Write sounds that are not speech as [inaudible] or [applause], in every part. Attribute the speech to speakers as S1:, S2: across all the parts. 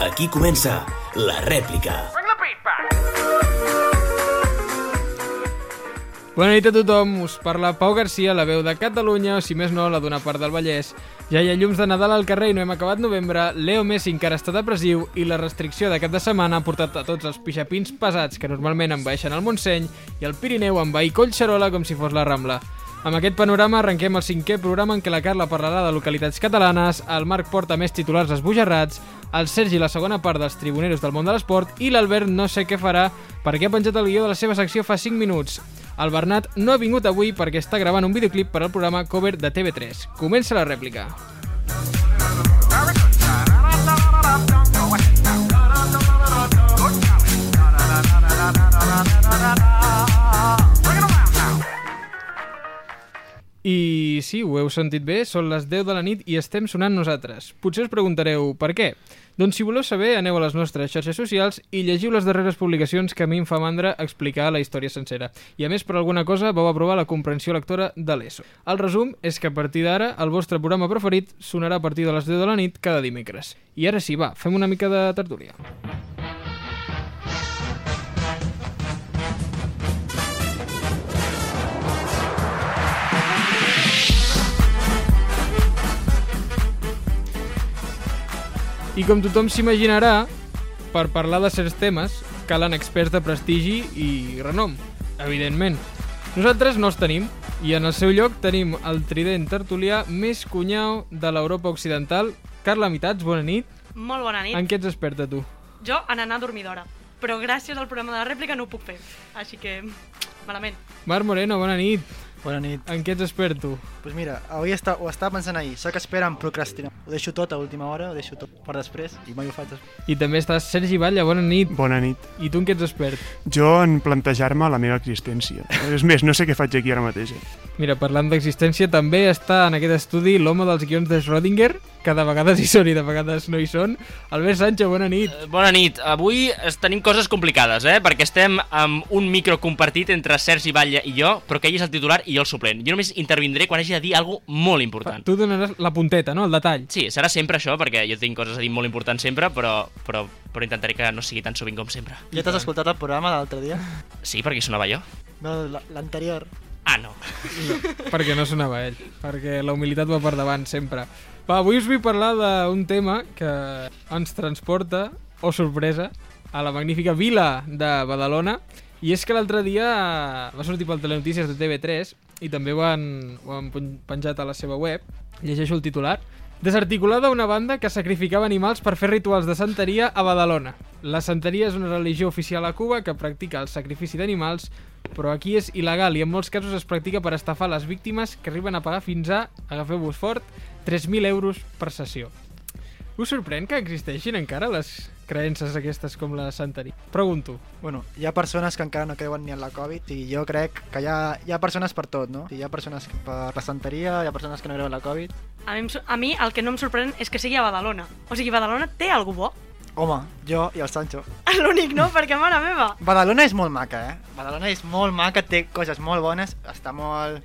S1: Aquí comença la rèplica.
S2: Bona nit a tothom, us parla Pau Garcia, la veu de Catalunya, o si més no, la d'una part del Vallès. Ja hi ha llums de Nadal al carrer i no hem acabat novembre, Leo Messi encara està depressiu i la restricció de cap de setmana ha portat a tots els pixapins pesats que normalment envaeixen el Montseny i el Pirineu envair Collserola com si fos la Rambla. Amb aquest panorama arrenquem el cinquè programa en què la Carla parlarà de localitats catalanes, el Marc porta més titulars esbojarrats, el Sergi la segona part dels tribuneros del món de l'esport i l'Albert no sé què farà perquè ha penjat el guió de la seva secció fa 5 minuts. El Bernat no ha vingut avui perquè està gravant un videoclip per al programa Cover de TV3. Comença la rèplica. I sí, ho heu sentit bé, són les 10 de la nit i estem sonant nosaltres. Potser us preguntareu per què? Doncs si voleu saber, aneu a les nostres xarxes socials i llegiu les darreres publicacions que a mi em fa mandra explicar la història sencera. I a més, per alguna cosa, vau aprovar la comprensió lectora de l'ESO. El resum és que a partir d'ara, el vostre programa preferit sonarà a partir de les 10 de la nit cada dimecres. I ara sí, va, fem una mica de tertúlia. I com tothom s'imaginarà, per parlar de certs temes calen experts de prestigi i renom, evidentment. Nosaltres no els tenim, i en el seu lloc tenim el trident tertulià més cunyau de l'Europa Occidental, Carla Mitats, bona nit.
S3: Molt bona nit.
S2: En què ets experta, tu?
S3: Jo en anar a dormir d'hora, però gràcies al programa de la rèplica no ho puc fer. Així que, malament.
S2: Marc Moreno, bona nit.
S4: Bona nit.
S2: En què ets expert, tu?
S4: Pues mira, avui està, ho estava pensant ahir, sóc expert en procrastinar. Ho deixo tot a última hora, ho deixo tot per després i mai ho faig. després.
S2: I també estàs Sergi Batlle, bona nit.
S5: Bona nit.
S2: I tu en què ets expert?
S5: Jo en plantejar-me la meva existència. És més, no sé què faig aquí ara mateix. eh?
S2: Mira, parlant d'existència, també està en aquest estudi l'home dels guions de Schrödinger, que de vegades hi són i de vegades no hi són. Albert Sánchez, bona nit.
S6: Bona nit. Avui es- tenim coses complicades, eh? Perquè estem amb un micro compartit entre Sergi Batlle i jo, però que ell és el titular i jo el suplent. Jo només intervindré quan hagi de dir alguna cosa molt important.
S2: Tu donaràs la punteta, no? El detall.
S6: Sí, serà sempre això, perquè jo tinc coses a dir molt importants sempre, però, però, però intentaré que no sigui tan sovint com sempre.
S4: Ja t'has escoltat el programa de l'altre dia? [laughs]
S6: Sí, perquè hi sonava jo.
S4: No, la- l'anterior.
S6: Ah, no.
S2: Perquè no sonava ell. Perquè la humilitat va per davant, sempre. Va, avui us vull parlar d'un tema que ens transporta, o oh, sorpresa, a la magnífica vila de Badalona. I és que l'altre dia va sortir pel Telenotícies de TV3 i també ho han, ho han pen- penjat a la seva web. Llegeixo el titular. Desarticulada una banda que sacrificava animals per fer rituals de santeria a Badalona. La santeria és una religió oficial a Cuba que practica el sacrifici d'animals, però aquí és il·legal i en molts casos es practica per estafar les víctimes que arriben a pagar fins a, agafeu-vos fort, 3.000 euros per sessió. Us sorprèn que existeixin encara les creences aquestes com la santeria? Pregunto.
S4: Bueno, hi ha persones que encara no creuen ni en la Covid i jo crec que hi ha, hi ha persones per tot, no? Hi ha persones que per la santeria, hi ha persones que no creuen en la Covid.
S3: A mi, em sor- a mi el que no em sorprèn és que sigui a Badalona. O sigui, Badalona té algú bo. [laughs]
S4: Home, jo i el Sancho.
S3: L'únic no, perquè mare meva.
S4: Badalona és molt maca, eh? Badalona és molt maca, té coses molt bones, està molt...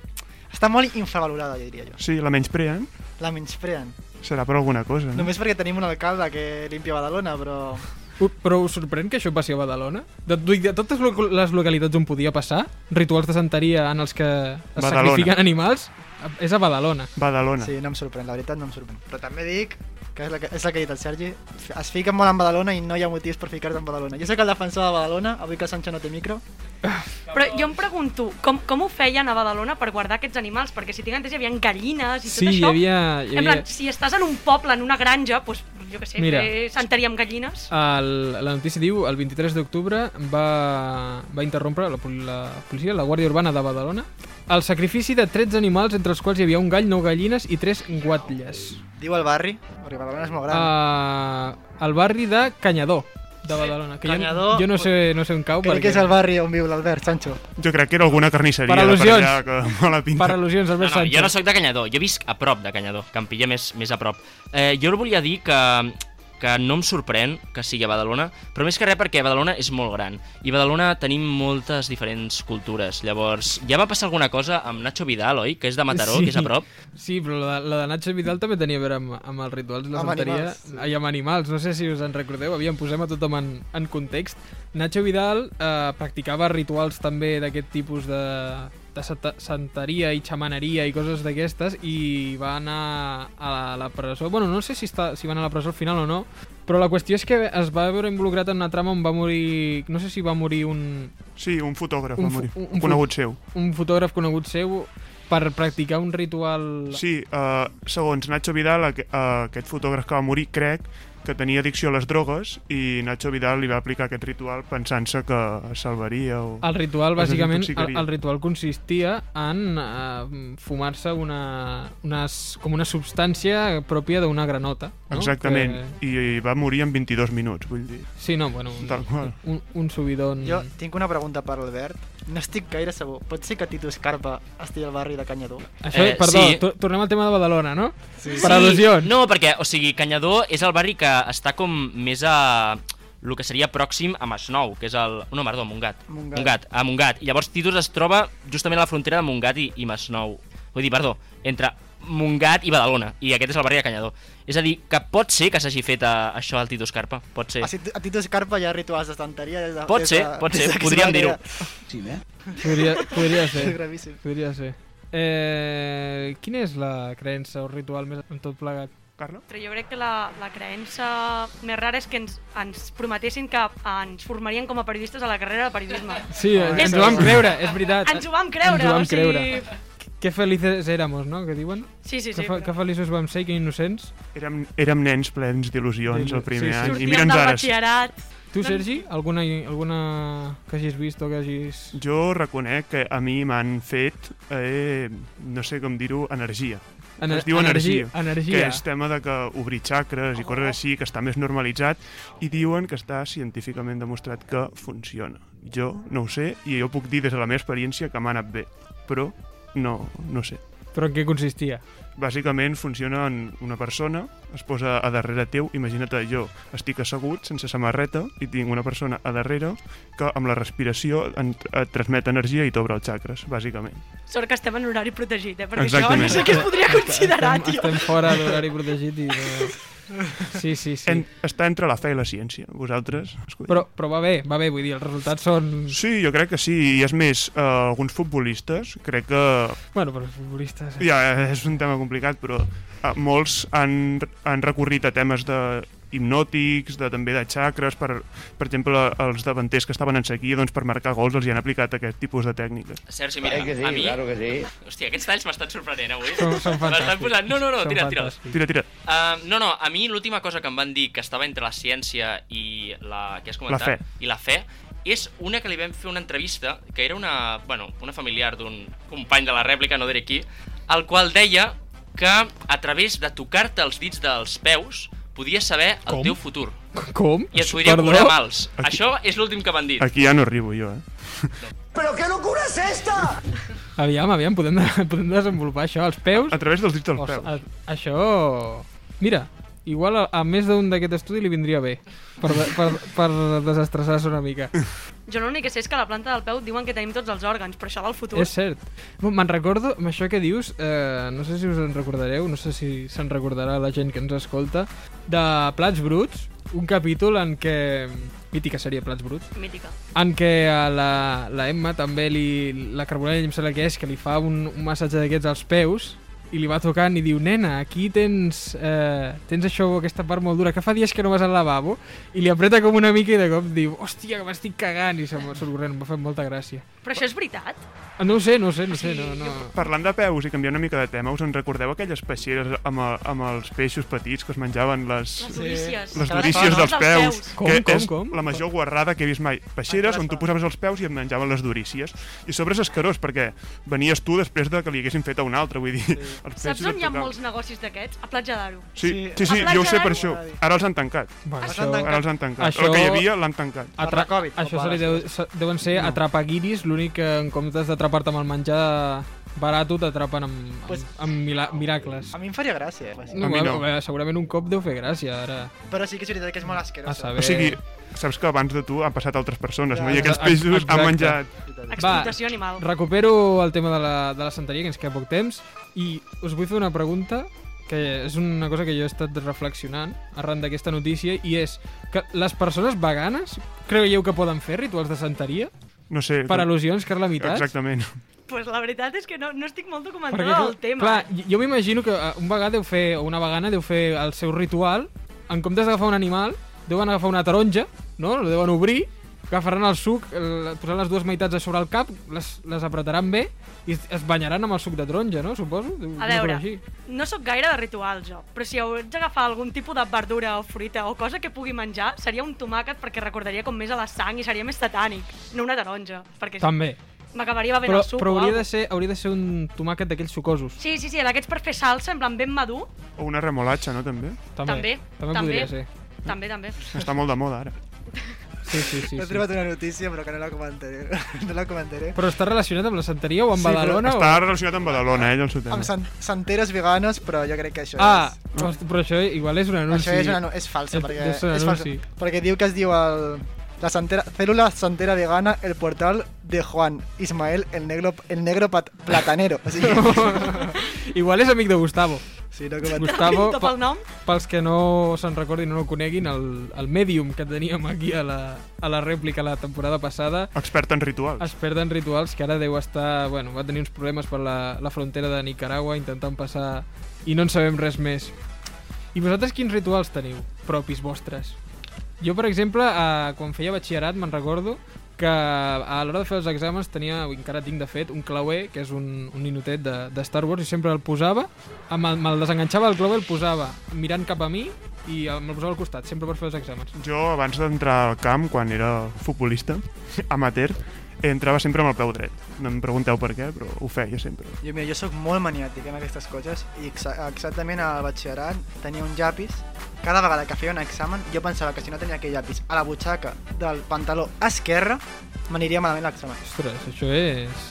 S4: Està molt infravalorada, jo diria jo.
S5: Sí, la menyspreen.
S4: La menyspreen.
S5: Serà per alguna cosa, eh? no?
S4: Només perquè tenim un alcalde que limpia Badalona, però...
S2: U- Però us sorprèn que això passi a Badalona? De, de, de totes lo- les localitats on podia passar, rituals de santeria en els que es
S5: Badalona.
S2: sacrifiquen animals, a- és a Badalona.
S5: Badalona.
S4: Sí, no em sorprèn, la veritat no em sorprèn. Però també dic que és la que, és la que ha dit el Sergi, f- es fiquen molt en Badalona i no hi ha motius per ficar-te en Badalona. Jo sé que el defensor de Badalona, avui que el Sancho no té micro,
S3: Però jo em pregunto, com, com ho feien a Badalona per guardar aquests animals? Perquè si tinc entès hi havia gallines i tot
S2: Sí, hi
S3: això.
S2: havia... Hi
S3: En
S2: havia...
S3: plan, si estàs en un poble, en una granja, doncs, jo què sé,
S2: Mira.
S3: fer santeria amb gallines.
S2: El, la notícia diu el 23 d'octubre va, va interrompre la, pol- la policia, la Guàrdia Urbana de Badalona, el sacrifici de 13 animals, entre els quals hi havia un gall, 9 gallines i 3 guatlles.
S4: diu el barri, perquè Badalona és molt gran.
S6: Ah,
S2: Uh, al barri de Canyador, de Badalona. Que
S4: Canyador,
S2: jo, jo no, sé, no sé on cau.
S4: Crec que és el barri on viu l'Albert, Sancho.
S5: Jo crec que era alguna carnisseria.
S2: Per
S5: de
S2: al·lusions.
S5: allà, que mala pinta.
S2: Per al·lusions,
S6: No,
S2: Albert
S6: no, jo no
S2: Sánchez.
S6: sóc de Canyador, jo visc a prop de Canyador, que em pilla més, més a prop. Eh, jo volia dir que que no em sorprèn que sigui a Badalona, però més que res perquè Badalona és molt gran i Badalona tenim moltes diferents cultures. Llavors, ja va passar alguna cosa amb Nacho Vidal, oi? Que és de Mataró, que és a prop.
S2: Sí, però la, la de Nacho Vidal també tenia a veure amb, amb els rituals i la
S4: Amb
S2: santeria.
S4: animals, sí.
S2: I amb animals, no sé si us en recordeu, aviam, posem a tothom en, en context. Nacho Vidal eh, practicava rituals també d'aquest tipus de, de santa- santeria i xamaneria i coses d'aquestes i va anar a la, la presó. Bueno, no sé si, està, si va anar a la presó al final o no, però la qüestió és que es va veure involucrat en una trama on va morir... No sé si va morir un,
S5: Sí, un fotògraf
S2: Un
S5: va
S2: fo-
S5: morir,
S2: un-
S5: un,
S2: un
S5: conegut seu.
S2: un fotògraf conegut seu per practicar un ritual...
S5: Sí, eh, segons Nacho Vidal, aqu eh, aquest fotògraf que va morir, crec que tenia addicció a les drogues i Nacho Vidal li va aplicar aquest ritual pensant-se que es salvaria o...
S2: El ritual,
S5: Es
S2: bàsicament, el,
S5: desintoxicaria.
S2: el ritual consistia en eh, fumar-se una, una, s- com una substància pròpia d'una granota. No?
S5: Exactament,
S2: Que...
S5: i va morir en 22 minuts, vull dir.
S2: Sí, no, bueno, un,
S5: Tal qual.
S2: un, un
S6: Mm.
S2: subidon...
S4: Jo tinc una pregunta per l'Albert. No estic gaire segur. Pot ser que Tito Escarpa estigui al barri de Canyador?
S2: Això,
S6: Eh,
S2: perdó,
S6: sí.
S2: to- tornem al tema de Badalona, no?
S4: Sí.
S2: Per al·lusions.
S6: No, perquè, o sigui, Canyador és el barri que està com més a el que seria pròxim a Masnou, que és el... No, perdó, Montgat.
S4: Montgat.
S6: Montgat, a Montgat. I llavors Titus es troba justament a la frontera de Montgat i, i Masnou. Vull dir, perdó, entre Montgat i Badalona. I aquest és el barri de Canyador. És a dir, que pot ser que s'hagi fet eh, això al Titus Carpa. Pot ser.
S4: A, Sit- a Tito Escarpa hi ha rituals d'estanteria des de...
S6: Pot
S4: des
S6: ser,
S4: de-
S6: pot ser,
S4: des de que
S6: podríem
S4: es va
S6: dir-ho.
S4: crear.
S2: Podria, podria
S4: [laughs] És
S2: ser,
S4: gravíssim.
S2: podria ser. Eh, quina és la creença o ritual més en tot plegat?
S5: Carla?
S3: Però jo crec que la, la creença més rara és que ens, ens prometessin que ah, ens formarien com a periodistes a la carrera de periodisme.
S2: Sí,
S4: Ah,
S2: ens
S3: és-
S2: ho vam creure, és veritat.
S3: Ens ho vam creure,
S2: Ens ho vam
S3: o sigui-
S2: creure. Que felices éramos, no?, que diuen.
S3: Sí, sí,
S2: que,
S3: sí.
S2: fa, que feliços vam ser, que innocents.
S5: Érem, érem nens plens d'il·lusions
S2: Sí,
S5: el
S2: sí,
S5: primer
S2: sí.
S5: any. I
S3: Sortíem
S5: mira'ns
S3: del
S5: ara.
S3: batxillerat.
S2: Tu,
S3: Doncs-
S2: Sergi, alguna, alguna que hagis vist o que hagis...
S5: Jo reconec que a mi m'han fet, eh, no sé com dir-ho, energia.
S2: Ener-
S5: es diu energia,
S2: Energia. Oh.
S5: Que és tema de que obrir xacres i coses així, que està més normalitzat, i diuen que està científicament demostrat que funciona. Jo no ho sé, i jo puc dir des de la meva experiència que m'ha anat bé, però no, no sé.
S2: Però en què consistia?
S5: Bàsicament funciona en una persona, es posa a darrere teu, imagina't jo, estic assegut, sense samarreta, i tinc una persona a darrere que amb la respiració en, et transmet energia i t'obre els xacres, bàsicament.
S3: Sort que estem en horari protegit, eh? Perquè
S5: Exactament.
S3: això no sé què es podria considerar,
S2: estem,
S3: tio.
S2: estem fora d'horari protegit i... No... Sí, sí, sí.
S5: Sí. En, està entre la fe i la ciència, vosaltres? Escolta.
S2: Però, però va bé, va bé, vull dir, els resultats són...
S5: Sí, jo crec que sí, i és més, eh, alguns futbolistes, crec que...
S2: Bueno, però els futbolistes...
S5: Ja, és un tema complicat, però eh, molts han, han recorrit a temes de hipnòtics, de, també de xacres, per, per exemple, els davanters que estaven en sequia, doncs per marcar gols els hi han aplicat aquest tipus de tècniques.
S6: Sergi, mira,
S7: que sí,
S6: a mi...
S7: claro que sí.
S6: Hòstia, aquests talls m'estan sorprenent eh, avui.
S2: Són, són
S6: M'estan
S2: fantàstics.
S6: posant... No, no, no,
S2: Són
S6: tira, tira.
S2: fantàstics.
S5: Tira, tira,
S6: Uh, no, no, a mi l'última cosa que em van dir que estava entre la ciència i la que has comentat
S5: La fe.
S6: i la fe és una que li vam fer una entrevista que era una, bueno, una familiar d'un company de la rèplica, no diré qui, el qual deia que a través de tocar-te els dits dels peus podies saber el
S2: Com?
S6: teu futur
S2: Com?
S6: i et podria curar mals.
S5: Aquí-
S6: Això és l'últim que m'han dit.
S5: aquí ja no arribo jo, eh?
S2: Aviam, aviam, podem, de- [laughs] podem desenvolupar això. Els peus...
S5: A través dels dits dels
S2: Os-
S5: peus.
S2: a- Això... Mira, igual a, a més d'un d'aquest estudi li vindria bé per, de- per, per desestressar-se una mica.
S3: Jo l'únic que sé és que a la planta del peu diuen que tenim tots els òrgans, però això del futur...
S2: És cert. No, Me'n recordo, amb això que dius, eh, no sé si us en recordareu, no sé si se'n recordarà la gent que ens escolta, de Plats Bruts, un capítol en què... Mítica sèrie Plats Bruts.
S3: Mítica.
S2: En què a la, la Emma també li... La Carbonell, em sembla que és, que li fa un, un massatge d'aquests als peus i li va tocant i diu, nena, aquí tens, eh, tens això, aquesta part molt dura, que fa dies que no vas al lavabo, i li apreta com una mica i de cop diu, hòstia, que m'estic cagant, i se'm surt corrent, m'ha fet molta gràcia.
S3: Però això és veritat?
S2: Ah, No ho sé, no ho sé, no ho sé, no, no.
S5: Parlant de peus i canviant una mica de tema, us en recordeu aquelles peixeres amb, el, amb els peixos petits que es menjaven les...
S3: Les durícies.
S5: les
S4: Que les fan
S5: durícies dels peus,
S2: Com,
S5: que
S2: com,
S5: és
S2: com?
S5: la major guarrada que he vist mai. Peixeres on tu posaves els peus i et menjaven les durícies. I a sobre és escarós, perquè venies tu després de que li haguessin fet a un altre, vull dir... [laughs] Els
S3: Saps
S5: peixos et
S3: on hi ha
S5: tocaven.
S3: molts negocis d'aquests? A Platja d'Aro.
S5: Sí, sí,
S3: A
S5: sí,
S3: Platja
S5: jo ho sé per
S3: d'Aro.
S5: això. Ara els han tancat.
S2: Bueno,
S4: Això-
S5: Ara els han tancat.
S2: Això-
S5: El que hi havia l'han tancat.
S4: Per la Covid,
S2: això
S4: o
S2: se li
S4: per
S2: deu, se, deuen ser atrapaguiris, l'únic que en comptes d'atrapar-te amb el menjar barato t'atrapen amb,
S4: Pues-
S2: amb, amb mila miracles.
S4: A mi em faria gràcia. Pues.
S5: A mi
S2: bueno,
S5: no.
S2: bé, segurament un cop deu fer gràcia, ara.
S4: Però sí que és veritat que és
S2: A
S4: molt asquerosa.
S2: saber...
S5: O sigui, saps que abans de tu han passat altres persones, no? I
S4: Ja,
S5: aquests
S2: ex-
S5: peixos
S2: exacte.
S5: han menjat...
S3: Explotació animal.
S2: Recupero el tema de la, de la santeria, que ens queda poc temps, i us vull fer una pregunta que és una cosa que jo he estat reflexionant arran d'aquesta notícia, i és que les persones veganes creieu que poden fer rituals de santeria?
S5: No sé...
S2: Per al·lusions, Carla Mitats?
S5: Exactament.
S3: Pues la veritat és que no, no estic molt documentada
S2: clar-
S3: del tema.
S2: Clar, jo- jo m'imagino que eh, un vegà deu fer, o una vegana deu fer el seu ritual, en comptes d'agafar un animal, deuen agafar una taronja, no? La deuen obrir, agafaran el suc, el, posaran les dues meitats a sobre el cap, les, les apretaran bé i es- es banyaran amb el suc de taronja, no? Suposo. Deu-
S3: A
S2: una cosa
S3: veure,
S2: així.
S3: no sóc gaire de ritual, jo, però si haig d'agafar algun tipus de verdura o fruita o cosa que pugui menjar, seria un tomàquet perquè recordaria com més a la sang i seria més satànic, no una taronja, perquè
S2: També.
S3: m'acabaria bevent
S2: Però,
S3: el suc
S2: però
S3: o
S2: hauria, de
S3: alguna
S2: ser, hauria de ser un tomàquet d'aquells sucosos.
S3: Sí, sí, sí, d'aquests per fer salsa, en plan ben madur,
S5: O una remolatxa, no? També.
S2: També.
S3: També,
S2: També,
S3: també.
S2: podria ser.
S3: també, també.
S5: Està molt de moda, ara.
S2: Sí, sí, sí.
S4: He
S2: sí.
S4: trobat una notícia, però que no la comentaré. [laughs] no la comentaré.
S2: Però està relacionat amb la santeria o amb
S4: Sí, però
S2: Badalona?
S5: Està relacionat amb Badalona, eh, ell, el seu tema.
S4: Amb san santeres veganes, però jo crec que això
S2: O... Ah,
S4: és...
S2: hosti, però això igual és un anunci.
S4: Això és, una, no- és falsa,
S2: És-
S4: perquè,
S2: és un
S4: és falsa,
S2: anunci.
S4: perquè diu que es diu el, la santera, célula santera vegana, el portal de Juan Ismael, el negro, el negro pat, platanero. O
S2: [laughs]
S4: sigui,
S2: Igual és amic de Gustavo.
S4: sí, no comentaré.
S2: Gustavo,
S3: Tot
S2: pe-
S3: el nom?
S2: pels que no se'n recordin o no el coneguin, el, el Medium que teníem aquí a la, a la rèplica la temporada passada,
S5: Expert en rituals.
S2: es perden rituals que ara deu estar... Bueno, va tenir uns problemes per la, la frontera de Nicaragua intentant passar i no en sabem res més. I vosaltres quins rituals teniu propis vostres? Jo, per exemple, eh, quan feia batxillerat, me'n recordo que eh, a l'hora de fer els exàmens tenia, o encara tinc de fet, un clauer, que és un, un ninotet de, de Star Wars, i sempre el posava, amb el, me'l desenganxava del clauer, el posava mirant cap a mi i el- me'l posava al costat, sempre per fer els exàmens.
S5: Jo, abans d'entrar al camp, quan era futbolista, [laughs] amateur, entrava sempre amb el peu dret. No em pregunteu per què, però ho feia sempre.
S4: Jo, mira, jo sóc molt maniàtic en aquestes coses i exa exactament al batxillerat tenia un llapis. Cada vegada que feia un examen jo pensava que si no tenia aquell llapis a la butxaca del pantaló esquerre m'aniria malament l'examen.
S2: Ostres, això és...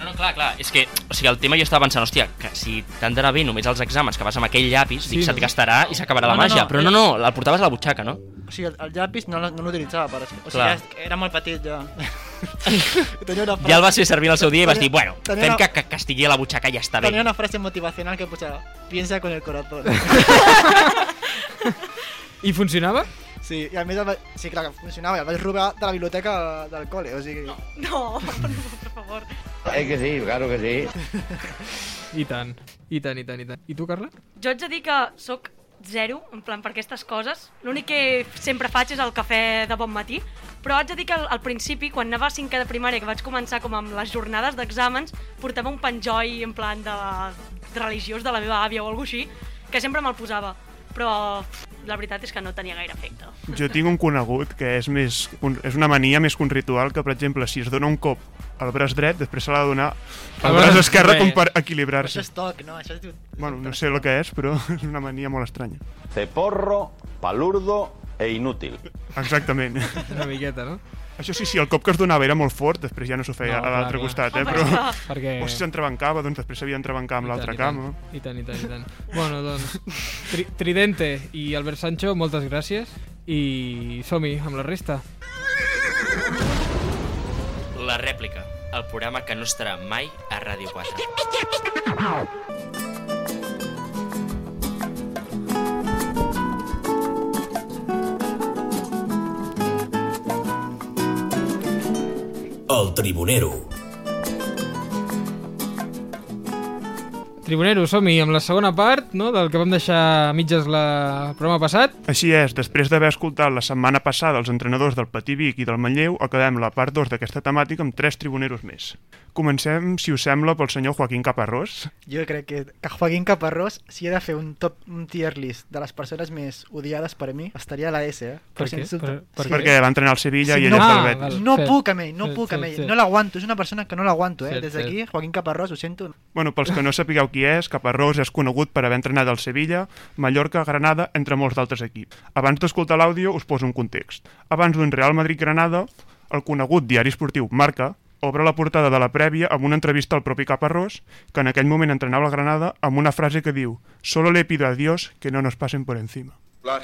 S6: No, no, clar, clar, és que, o sigui, el tema jo estava pensant, hòstia, que si t'han d'anar bé només als exàmens que vas amb aquell llapis,
S2: Sí,
S6: sí, dic,
S2: no?
S6: se't gastarà i s'acabarà
S4: No,
S6: la
S4: no,
S6: màgia,
S4: no,
S6: però no, no, el portaves a la butxaca, no?
S4: O sigui, el, el llapis no, l- no l'utilitzava per escriure. O
S6: Clar.
S4: sigui, era, era molt petit
S6: [laughs]
S4: ja. tenia una frase,
S6: Ja el vas fer servir en el seu dia i vas dir, bueno,
S4: Tenia
S6: fem
S4: una-
S6: que, que, que estigui a la butxaca i ja està bé.
S4: tenia una frase motivacional que posava piensa con el
S6: [laughs]
S4: corazón.
S2: I funcionava?
S4: sí, i a més el va... sí, clar, que funcionava, i el vaig robar de la biblioteca del col·le, o sigui...
S3: No, [laughs] no, per favor.
S7: Es que sí, claro que sí.
S2: I tant, i tant, i tant, i tant. I tu, Carla?
S3: Jo haig de dir que sóc zero, en plan, per aquestes coses. L'únic que sempre faig és el cafè de bon matí, però haig de dir que al, al principi, quan anava a cinquè de primària, que vaig començar com amb les jornades d'exàmens, portava un penjoll en plan de, de religiós de la meva àvia o alguna així, que sempre me'l posava. Però pff, la veritat és que no tenia gaire efecte.
S5: Jo tinc un conegut que és, més, un, és una mania més que un ritual, que, per exemple, si es dona un cop al braç dret, després se l'ha de donar
S2: Al
S5: al
S2: braç
S5: braç esquerre
S2: dret.
S5: com per
S4: Això
S5: equilibrar-se.
S4: és toc, no? Això es diu...
S5: Bueno, no sé el que és, però [laughs] és una mania molt estranya.
S7: Ceporro, palurdo e inútil.
S5: Exactament. [laughs]
S2: Una miqueta, no?
S5: Això sí, sí, el cop que es donava era molt fort, després ja no s'ho feia
S2: No,
S5: a l'altre
S2: clar,
S5: costat, eh?
S3: Home,
S5: Però... [laughs]
S3: clar.
S2: Perquè...
S5: O si s'entrebancava, doncs després s'havia d'entrebancar amb l'altra
S2: I tant,
S5: cama.
S2: I tant, i tant, i tant. bueno, doncs, tri Tridente i Albert Sancho, moltes gràcies. I som-hi amb la resta.
S6: La rèplica, el programa que no estarà mai a Ràdio 4.
S1: El Tribunero.
S2: Tribunero, som-hi amb la segona part, no?, del que vam deixar a mitges la el programa passat.
S5: Així és, després d'haver escoltat la setmana passada els entrenadors del Patí Vic i del Manlleu, acabem la part 2 d'aquesta temàtica amb tres tribuneros més. Comencem, si us sembla, pel senyor Joaquín Caparrós.
S4: Jo crec que, que Joaquín Caparrós, si he de fer un top un tier list de les persones més odiades per a mi, estaria a la S, eh?
S2: Per
S4: Però
S2: què?
S4: sens dubte.
S2: Per- per
S4: Sí.
S2: què?
S5: Perquè va entrenar al Sevilla
S4: Sí,
S5: i ell
S4: no.
S5: és
S2: Ah,
S5: del Betis.
S2: val.
S4: No
S2: Fet.
S4: puc amb ell, no
S2: Fet,
S4: puc amb
S2: fet,
S4: ell.
S2: fet.
S4: No l'aguanto, és una persona que no l'aguanto, eh?
S2: Fet,
S4: Des d'aquí, Joaquín Caparrós, ho sento.
S5: Bueno, pels que no sapigueu qui és, Caparrós és conegut per haver entrenat al Sevilla, Mallorca, Granada, entre molts d'altres equips. Abans d'escoltar l'àudio, us poso un context. Abans d'un Real Madrid-Granada, el conegut diari esportiu Marca obre la portada de la prèvia amb una entrevista al propi cap Arròs, que en aquell moment entrenava el Granada, amb una frase que diu «Solo le pido a Dios que no nos pasen por encima».
S8: Hablar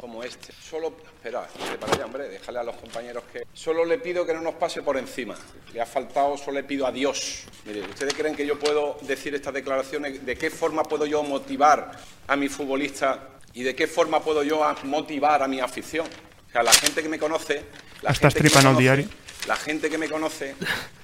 S8: como este. Solo, espera, vete para allá, hombre, déjale a los compañeros que. Solo le pido que no nos pase por encima. Le ha faltado, solo le pido a Dios. Mire, ¿ustedes creen que yo puedo decir estas declaraciones? ¿De qué forma puedo yo motivar a mi futbolista y de qué forma puedo yo a- motivar a mi afición? O sea, la gente que me conoce. La
S5: Estás
S8: gente que me
S5: tripando al
S8: conoce-
S5: diario.
S8: La gente que me conoce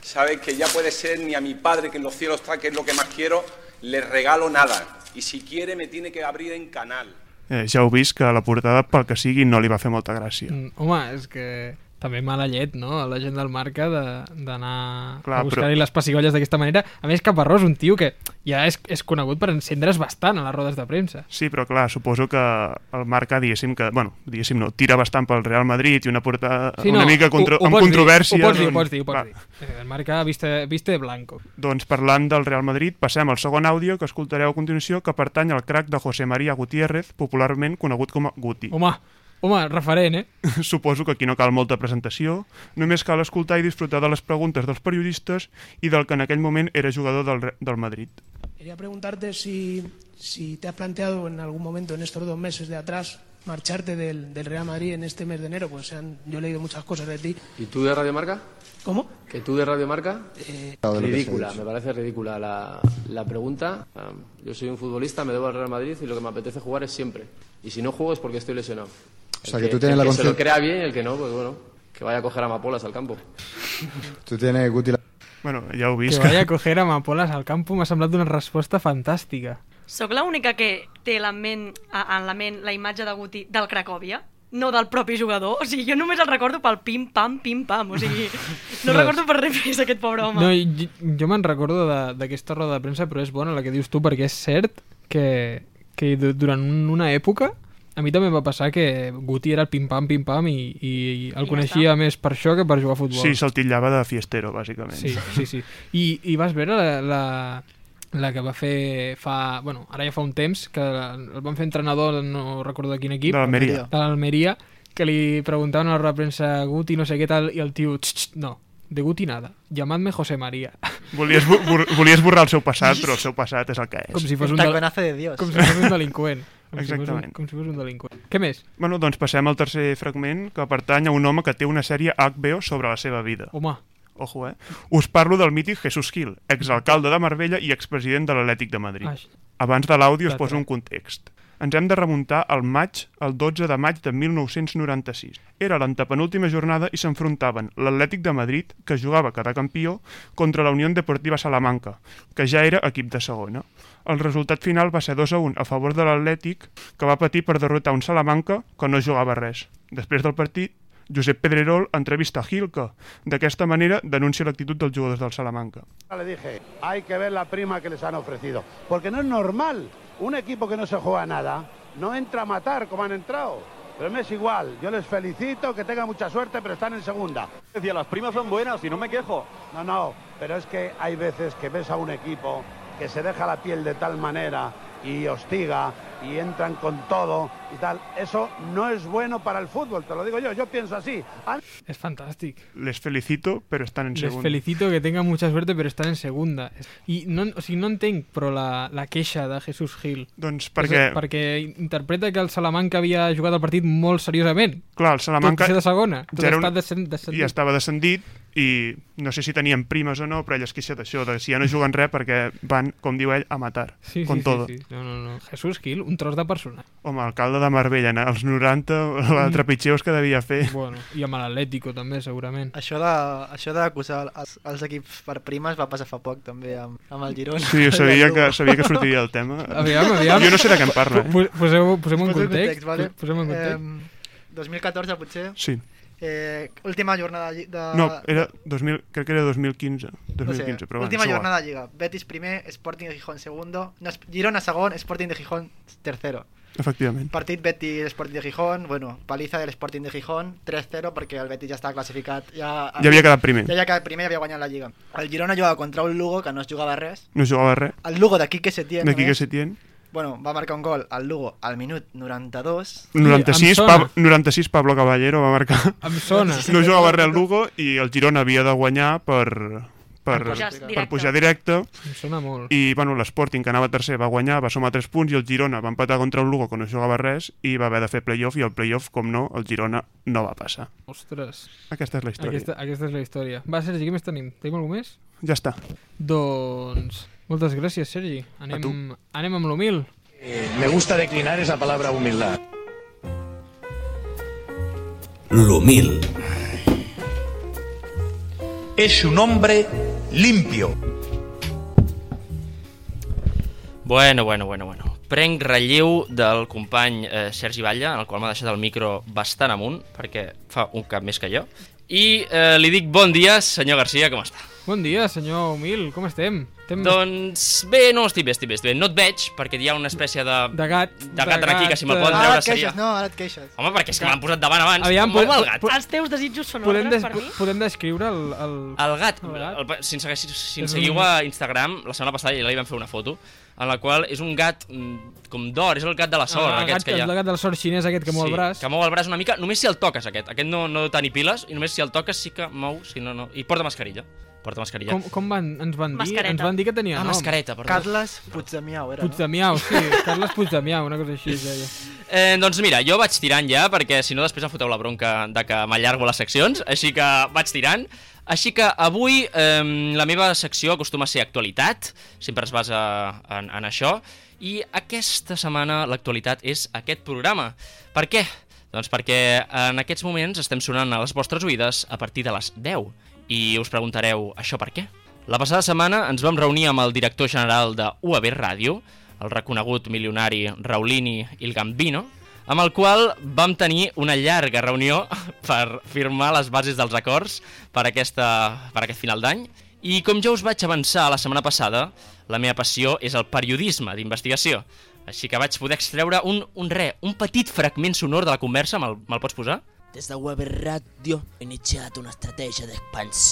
S8: sabe que ya puede ser ni a mi padre, que en los cielos está, que es lo que más quiero, le regalo nada. Y si quiere, me tiene que abrir en canal.
S5: Eh, ja heu vist que la portada, pel que sigui, no li va fer molta gràcia.
S2: Mm, Home, és que també mala llet, no?, a la gent del marca de- d'anar
S5: Clar,
S2: a buscar-hi
S5: però-
S2: les pessigolles d'aquesta manera. A més, Caparrós, un tio que ja és, és conegut per encendre's bastant a les rodes de premsa.
S5: Sí, però clar, suposo que el Marca, diguéssim que, bueno, diguéssim no, tira bastant pel Real Madrid i una portada
S2: Sí,
S5: una
S2: no,
S5: mica contro
S2: ho- ho
S5: amb
S2: pots dir,
S5: controvèrsia.
S2: Ho pots dir, ho
S5: doncs,
S2: pots dir, ho
S5: va.
S2: pots dir. Eh, El marca viste, viste de blanco.
S5: Doncs parlant del Real Madrid, passem al segon àudio que escoltareu a continuació que pertany al crack de José María Gutiérrez, popularment conegut com a Guti.
S2: Home, home, referent, eh?
S5: [laughs] Suposo que aquí no cal molta presentació, només cal escoltar i disfrutar de les preguntes dels periodistes i del que en aquell moment era jugador del, Re- del Madrid.
S9: Quería preguntarte si, si te has planteado en algún momento en estos dos meses de atrás marcharte del, del Real Madrid en este mes de enero, pues se han- yo he leído muchas cosas de ti.
S10: ¿Y tú de Radio Marca?
S9: ¿Cómo?
S10: ¿Que tú de Radio Marca?
S9: Eh,
S10: Ridícula, me parece ridícula la, la pregunta. Um, Yo soy un futbolista, me debo al Real Madrid y lo que me apetece jugar es siempre. Y si no juego es porque estoy lesionado.
S11: O
S10: El
S11: sea, que tú tienes
S10: el
S11: la
S10: que se lo
S11: conciencia-
S10: crea bien y el que no, pues bueno, que vaya a coger amapolas al campo.
S11: Tú tienes, Guti, la...
S5: Bueno, ja heu
S2: Que
S5: vist
S2: vaya a coger amapolas al campo m'ha semblat una resposta fantàstica.
S3: Soc l'única que té la ment, a- en la ment la imatge de Guti del Cracòvia, no del propi jugador. O sigui, jo només el recordo pel pim-pam, pim-pam. O sigui, no el
S2: No.
S3: recordo per res més, aquest pobre home.
S2: No, jo, jo me'n recordo de- d'aquesta roda de premsa, però és bona la que dius tu, perquè és cert que, que du- durant un- una època a mi també em va passar que Guti era el pim-pam, pim-pam i, i, i el
S3: I ja
S2: coneixia més per això que per jugar a futbol.
S5: Sí, se'l titllava de fiestero, bàsicament.
S2: Sí, sí, sí. I, i vas veure la, la, la que va fer fa... Bueno, ara ja fa un temps, que el van fer entrenador, no recordo de quin
S5: De
S2: equip,
S5: l'Almeria.
S2: de l'Almeria, que li preguntaven a la roda de premsa Guti no sé què tal, i el tio, "Tx, tx, no, de Guti nada, llamadme José María.
S5: Volia, esbo bor- volia esborrar el seu passat, però el seu passat és el que és.
S2: Com si fos
S4: Un
S2: un... del-
S4: taconazo de Dios.
S2: Com si fos un delinqüent. Com Si fos
S5: Exactament.
S2: un, com si fos un delinqüent. Què més?
S5: Bueno, doncs passem al tercer fragment, que pertany a un home que té una sèrie HBO sobre la seva vida.
S2: Home,
S5: Ojo, eh? Us parlo del mític Jesús Gil, exalcalde de Marbella i expresident de l'Atlètic de Madrid.
S2: Ai.
S5: Abans de l'àudio us
S2: Clar,
S5: poso
S2: clar.
S5: un context. Ens hem de remuntar al maig, el 12 de maig de 1996. Era l'antepenúltima jornada i s'enfrontaven l'Atlètic de Madrid, que jugava cada campió, contra la Unió Deportiva Salamanca, que ja era equip de segona. El resultat final va ser 2 a 1 a favor de l'Atlètic, que va patir per derrotar un Salamanca que no jugava res. Després del partit, Josep Pedrerol entrevista a Gil que, d'aquesta manera, denuncia l'actitud dels jugadors del Salamanca.
S9: Le dije, hay que ver la prima que les han ofrecido. Porque no es normal. Un equipo que no se juega nada no entra a matar como han entrado. Pero me es igual. Yo les felicito, que tengan mucha suerte, pero están en segunda. Decía, las primas son buenas y no me quejo. No, no, pero es que hay veces que ves a un equipo que se deja la piel de tal manera y hostiga y entran con todo y tal. Eso no es bueno para el fútbol, te lo digo yo. Yo pienso así. Han-
S2: és fantàstic.
S5: Les felicito, però estan en
S2: Les
S5: segon.
S2: felicito que tengan mucha suerte, pero están en segunda. I no, o sigui, no entenc, però la, la queixa de Jesús Gil.
S5: Doncs
S2: És
S5: perquè,
S2: a- perquè interpreta que el Salamanca havia jugat el partit molt seriosament.
S5: clar, el Salamanca
S2: Tot i ser de segona. Tot
S5: ja era
S2: estat
S5: un-
S2: descend, descendit.
S5: ja estava descendit i no sé si tenien primes o no, però ell es queixa d'això, de si ja no juguen res perquè van, com diu ell, a matar.
S2: Sí,
S5: con
S2: sí,
S5: todo.
S2: sí, sí. No, no, no. Jesús Gil, un tros de persona.
S5: Home, alcalde de Marbella, en els 90, la trepitgeus que devia fer.
S2: Bueno, i amb l'Atlético també, segurament.
S4: Això de- això d'acusar els, els equips per primes va passar fa poc també amb, amb el Girona.
S2: [laughs]
S5: Sí, jo
S4: [laughs]
S5: sabia que, sabia que sortiria el tema.
S2: Aviam, aviam.
S5: Jo no sé de què em parla, eh?
S2: Po- Poseu, posem un
S4: Posem
S2: context.
S4: vale?
S2: po- Posem un context.
S4: Eh, 2014 potser,
S5: Sí.
S4: eh, última jornada de, lli- de
S5: No, eh, era 2000, crec que era 2015. 2015
S4: no sé,
S5: però bueno,
S4: Ah. última
S5: és igual.
S4: jornada de Liga. Betis primer, Sporting de Gijón segundo, no, Girona segon, Sporting de Gijón tercero.
S5: Efectivament.
S4: Partit Betis Sporting de Gijón, bueno, paliza del Sporting de Gijón, 3-0 perquè el Betis ja estava classificat. Ja,
S5: Ja havia quedat primer.
S4: ja havia quedat primer i havia guanyat la Lliga. El Girona jugava contra un Lugo que no es jugava res.
S5: No jugava res.
S4: El Lugo de Quique Setién,
S5: D'aquí
S4: a
S5: que
S4: més,
S5: se tien.
S4: Bueno, va marcar un gol al Lugo al minut 92.
S5: 96, pa 96 Pablo Caballero va marcar.
S2: Em sona.
S5: No jugava res al Lugo i el Girona havia de guanyar per, per,
S2: Per pujar directe.
S5: per pujar directe.
S2: Em sona molt.
S5: I bueno, l'Sporting, que anava tercer, va guanyar, va sumar 3 punts i el Girona va empatar contra el Lugo, que no jugava res, i va haver de fer playoff, i el playoff, com no, el Girona no va passar.
S2: Ostres.
S5: Aquesta és la història.
S2: Aquesta, aquesta és la història. Va, Sergi, què més tenim? Tenim algú més?
S5: Ja està.
S2: Doncs... Moltes gràcies, Sergi. Anem, anem amb l'humil.
S12: Me gusta declinar esa palabra humildad.
S1: l'humil,
S12: Es un hombre limpio.
S6: Bueno, bueno, bueno, bueno. Prenc relleu del company eh, Sergi Batlle, en el qual m'ha deixat el micro bastant amunt, perquè fa un cap més que jo. I eh, li dic bon dia, senyor Garcia, com està?
S2: Bon dia, senyor Humil, com estem? estem...
S6: Doncs bé, no, estic bé, estic bé, estic bé. No et veig, perquè hi ha una espècie de...
S2: De gat.
S6: De gat aquí, que si me'l poden
S4: Ara Ah,
S6: treure
S4: et
S6: seria...
S4: queixes, no, ara et queixes.
S6: Home, perquè és que me l'han posat davant abans.
S2: Aviam,
S6: Com
S2: podem-
S6: el gat.
S3: Els teus desitjos són
S2: Podem, des...
S3: ordres per mi?
S2: podem descriure el... El, mm.
S6: El gat, el, pa- si, ens segueix, si
S2: És
S6: ens
S2: un-
S6: seguiu a Instagram, la setmana passada ja li vam fer una foto, en la qual és un gat mm, com d'or, és el gat de la sort,
S2: Ah, el, el, gat,
S6: aquests que hi ha.
S2: el gat del sort xinès aquest que mou el braç.
S6: Que mou el braç una mica, només si el toques aquest. Aquest no, no té ni piles, i només si el toques sí que mou, si no, no. I porta mascarilla. Porta mascarilla.
S2: Com, com van, ens van dir?
S6: Mascareta.
S2: Ens van dir que tenia
S6: Ah,
S2: nom.
S6: mascareta, perdó.
S4: Carles Puigdemiau, era,
S2: Puigdemiau,
S6: [laughs]
S2: sí, Carles Puigdemiau, una cosa així es deia.
S6: Eh, doncs mira, jo vaig tirant ja, perquè si no després em foteu la bronca de que m'allargo les seccions, així que vaig tirant. Així que avui eh, la meva secció acostuma a ser actualitat, sempre es basa en, en això, i aquesta setmana l'actualitat és aquest programa. Per què? Doncs perquè en aquests moments estem sonant a les vostres oïdes a partir de les 10. I us preguntareu, això per què? La passada setmana ens vam reunir amb el director general de UAB Ràdio, el reconegut milionari Raulini Il Gambino, amb el qual vam tenir una llarga reunió [laughs] per firmar les bases dels acords per, aquesta, per aquest final d'any. I com ja us vaig avançar la setmana passada, la meva passió és el periodisme d'investigació. Així que vaig poder extreure un, un re, un petit fragment sonor de la conversa, me'l me pots posar?
S13: Des da Web Radio ho iniziato una strategia di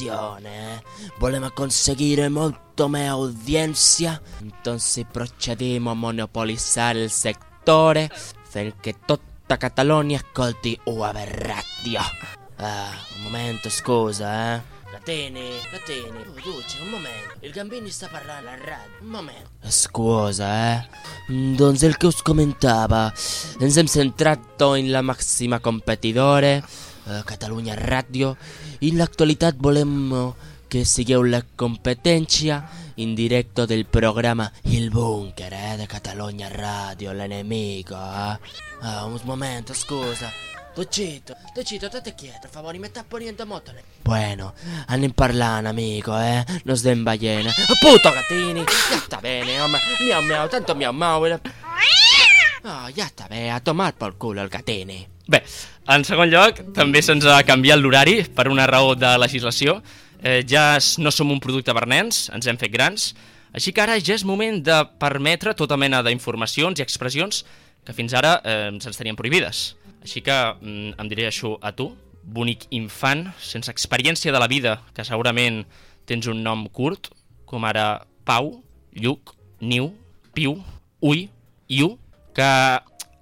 S13: espansione. Volevamo conseguire molto meno audiencia, entonces procedimos a monopolizzare il settore perché tutta Catalogna ascolti UAB Radio. Ah, un momento, scusa, eh. Catene, catene, oh, Duce, un momento. Il Gambini sta parlando al radio, un momento. Ah, Scusa, eh. Entonces el que os comentaba, ens hem centrato en la màxima competidora, eh, Catalunya Ràdio, i en l'actualitat volem eh, que sigueu la competència en directo del programa Il Búnker, eh, de Catalunya Ràdio, l'enemigo, eh. Ah, un momento, scusa. Docito, Docito, state quieto, per favore, mi sta ponendo molto le... Bueno, anem parlant, amico, eh? No sdem ballena. Oh, puto gattini! Ja està bene, home. Miau, miau, tanto miau, miau. Era... Oh, ja està bé, ha tomat pel cul el gatini.
S6: Bé, en segon lloc, també se'ns ha canviat l'horari per una raó de legislació. Eh, ja s- no som un producte per nens, ens hem fet grans, així que ara ja és moment de permetre tota mena d'informacions i expressions que fins ara eh, se'ns tenien prohibides. Així que mm, em diré això a tu, bonic infant, sense experiència de la vida, que segurament tens un nom curt, com ara Pau, Lluc, Niu, Piu, Ui, Iu, que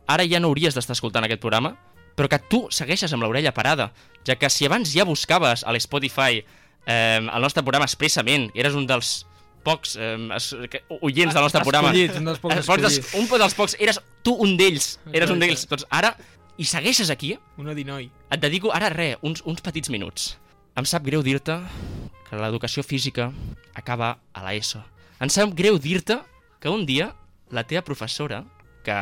S6: ara ja no hauries d'estar escoltant aquest programa, però que tu segueixes amb l'orella parada, ja que si abans ja buscaves a l'Spotify eh, el nostre programa expressament, eres un dels pocs eh, es, que, oients del nostre programa.
S2: Escollits, un dels pocs
S6: Es- pocs des-
S2: escollits.
S6: un dels pocs, eres tu un d'ells, eres
S2: Exacte.
S6: un d'ells. Doncs ara, i segueixes aquí,
S2: Una dinoi.
S6: et dedico ara re, uns, uns petits minuts. Em sap greu dir-te que l'educació física acaba a la ESO. Em sap greu dir-te que un dia la teva professora, que,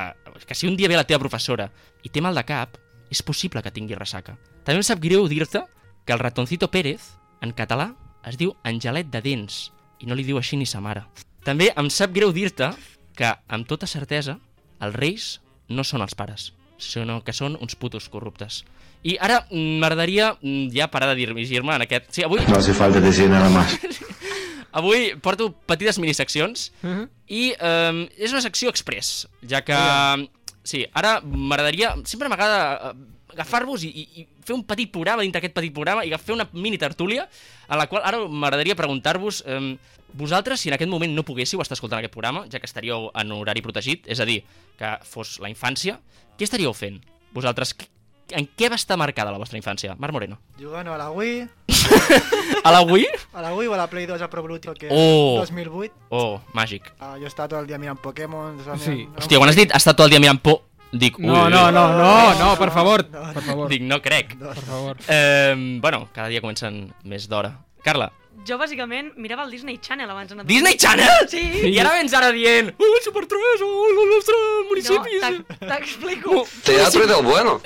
S6: que si un dia ve la teva professora i té mal de cap, és possible que tingui ressaca. També em sap greu dir-te que el ratoncito Pérez, en català, es diu Angelet de Dents i no li diu així ni sa mare. També em sap greu dir-te que, amb tota certesa, els reis no són els pares, sinó que són uns putos corruptes. I ara mm, m'agradaria mm, ja parar de dir-me en aquest... Sí, avui,
S12: No hace falta decir nada más.
S6: [laughs] avui porto petites miniseccions
S2: Uh-huh.
S6: i um, és una secció express, ja que... Sí, ara m'agradaria... Sempre m'agrada eh, agafar-vos i, i, i fer un petit programa dintre aquest petit programa i fer una mini tertúlia a la qual ara m'agradaria preguntar-vos eh, vosaltres, si en aquest moment no poguéssiu estar escoltant aquest programa, ja que estaríeu en horari protegit, és a dir, que fos la infància, què estaríeu fent? Vosaltres, qu- en què va estar marcada la vostra infància? Marc Moreno.
S4: Jugant a la Wii,
S6: [laughs] A la Wii?
S4: a la Wii o a la Play 2 a Pro Evolution que
S6: Oh.
S4: 2008.
S6: Oh, màgic.
S4: Ah, jo estava tot el dia mirant Pokémon.
S2: Sí.
S6: Hòstia, quan has dit estar tot el dia mirant por, dic...
S2: No,
S6: ui,
S2: no,
S6: ui.
S2: no, no, no, per favor, per favor.
S6: Dic, no crec.
S2: Per favor.
S6: Eh, bueno, cada dia comencen més d'hora. Carla,
S3: Jo, bàsicament, mirava el Disney Channel abans. d'anar a dormir.
S6: Disney Channel?
S3: Sí.
S6: I ara vens ara dient, uh, Super 3, oh, el nostre municipi.
S3: No, t'ex- t'explico.
S6: Teatro del [laughs]
S14: bueno.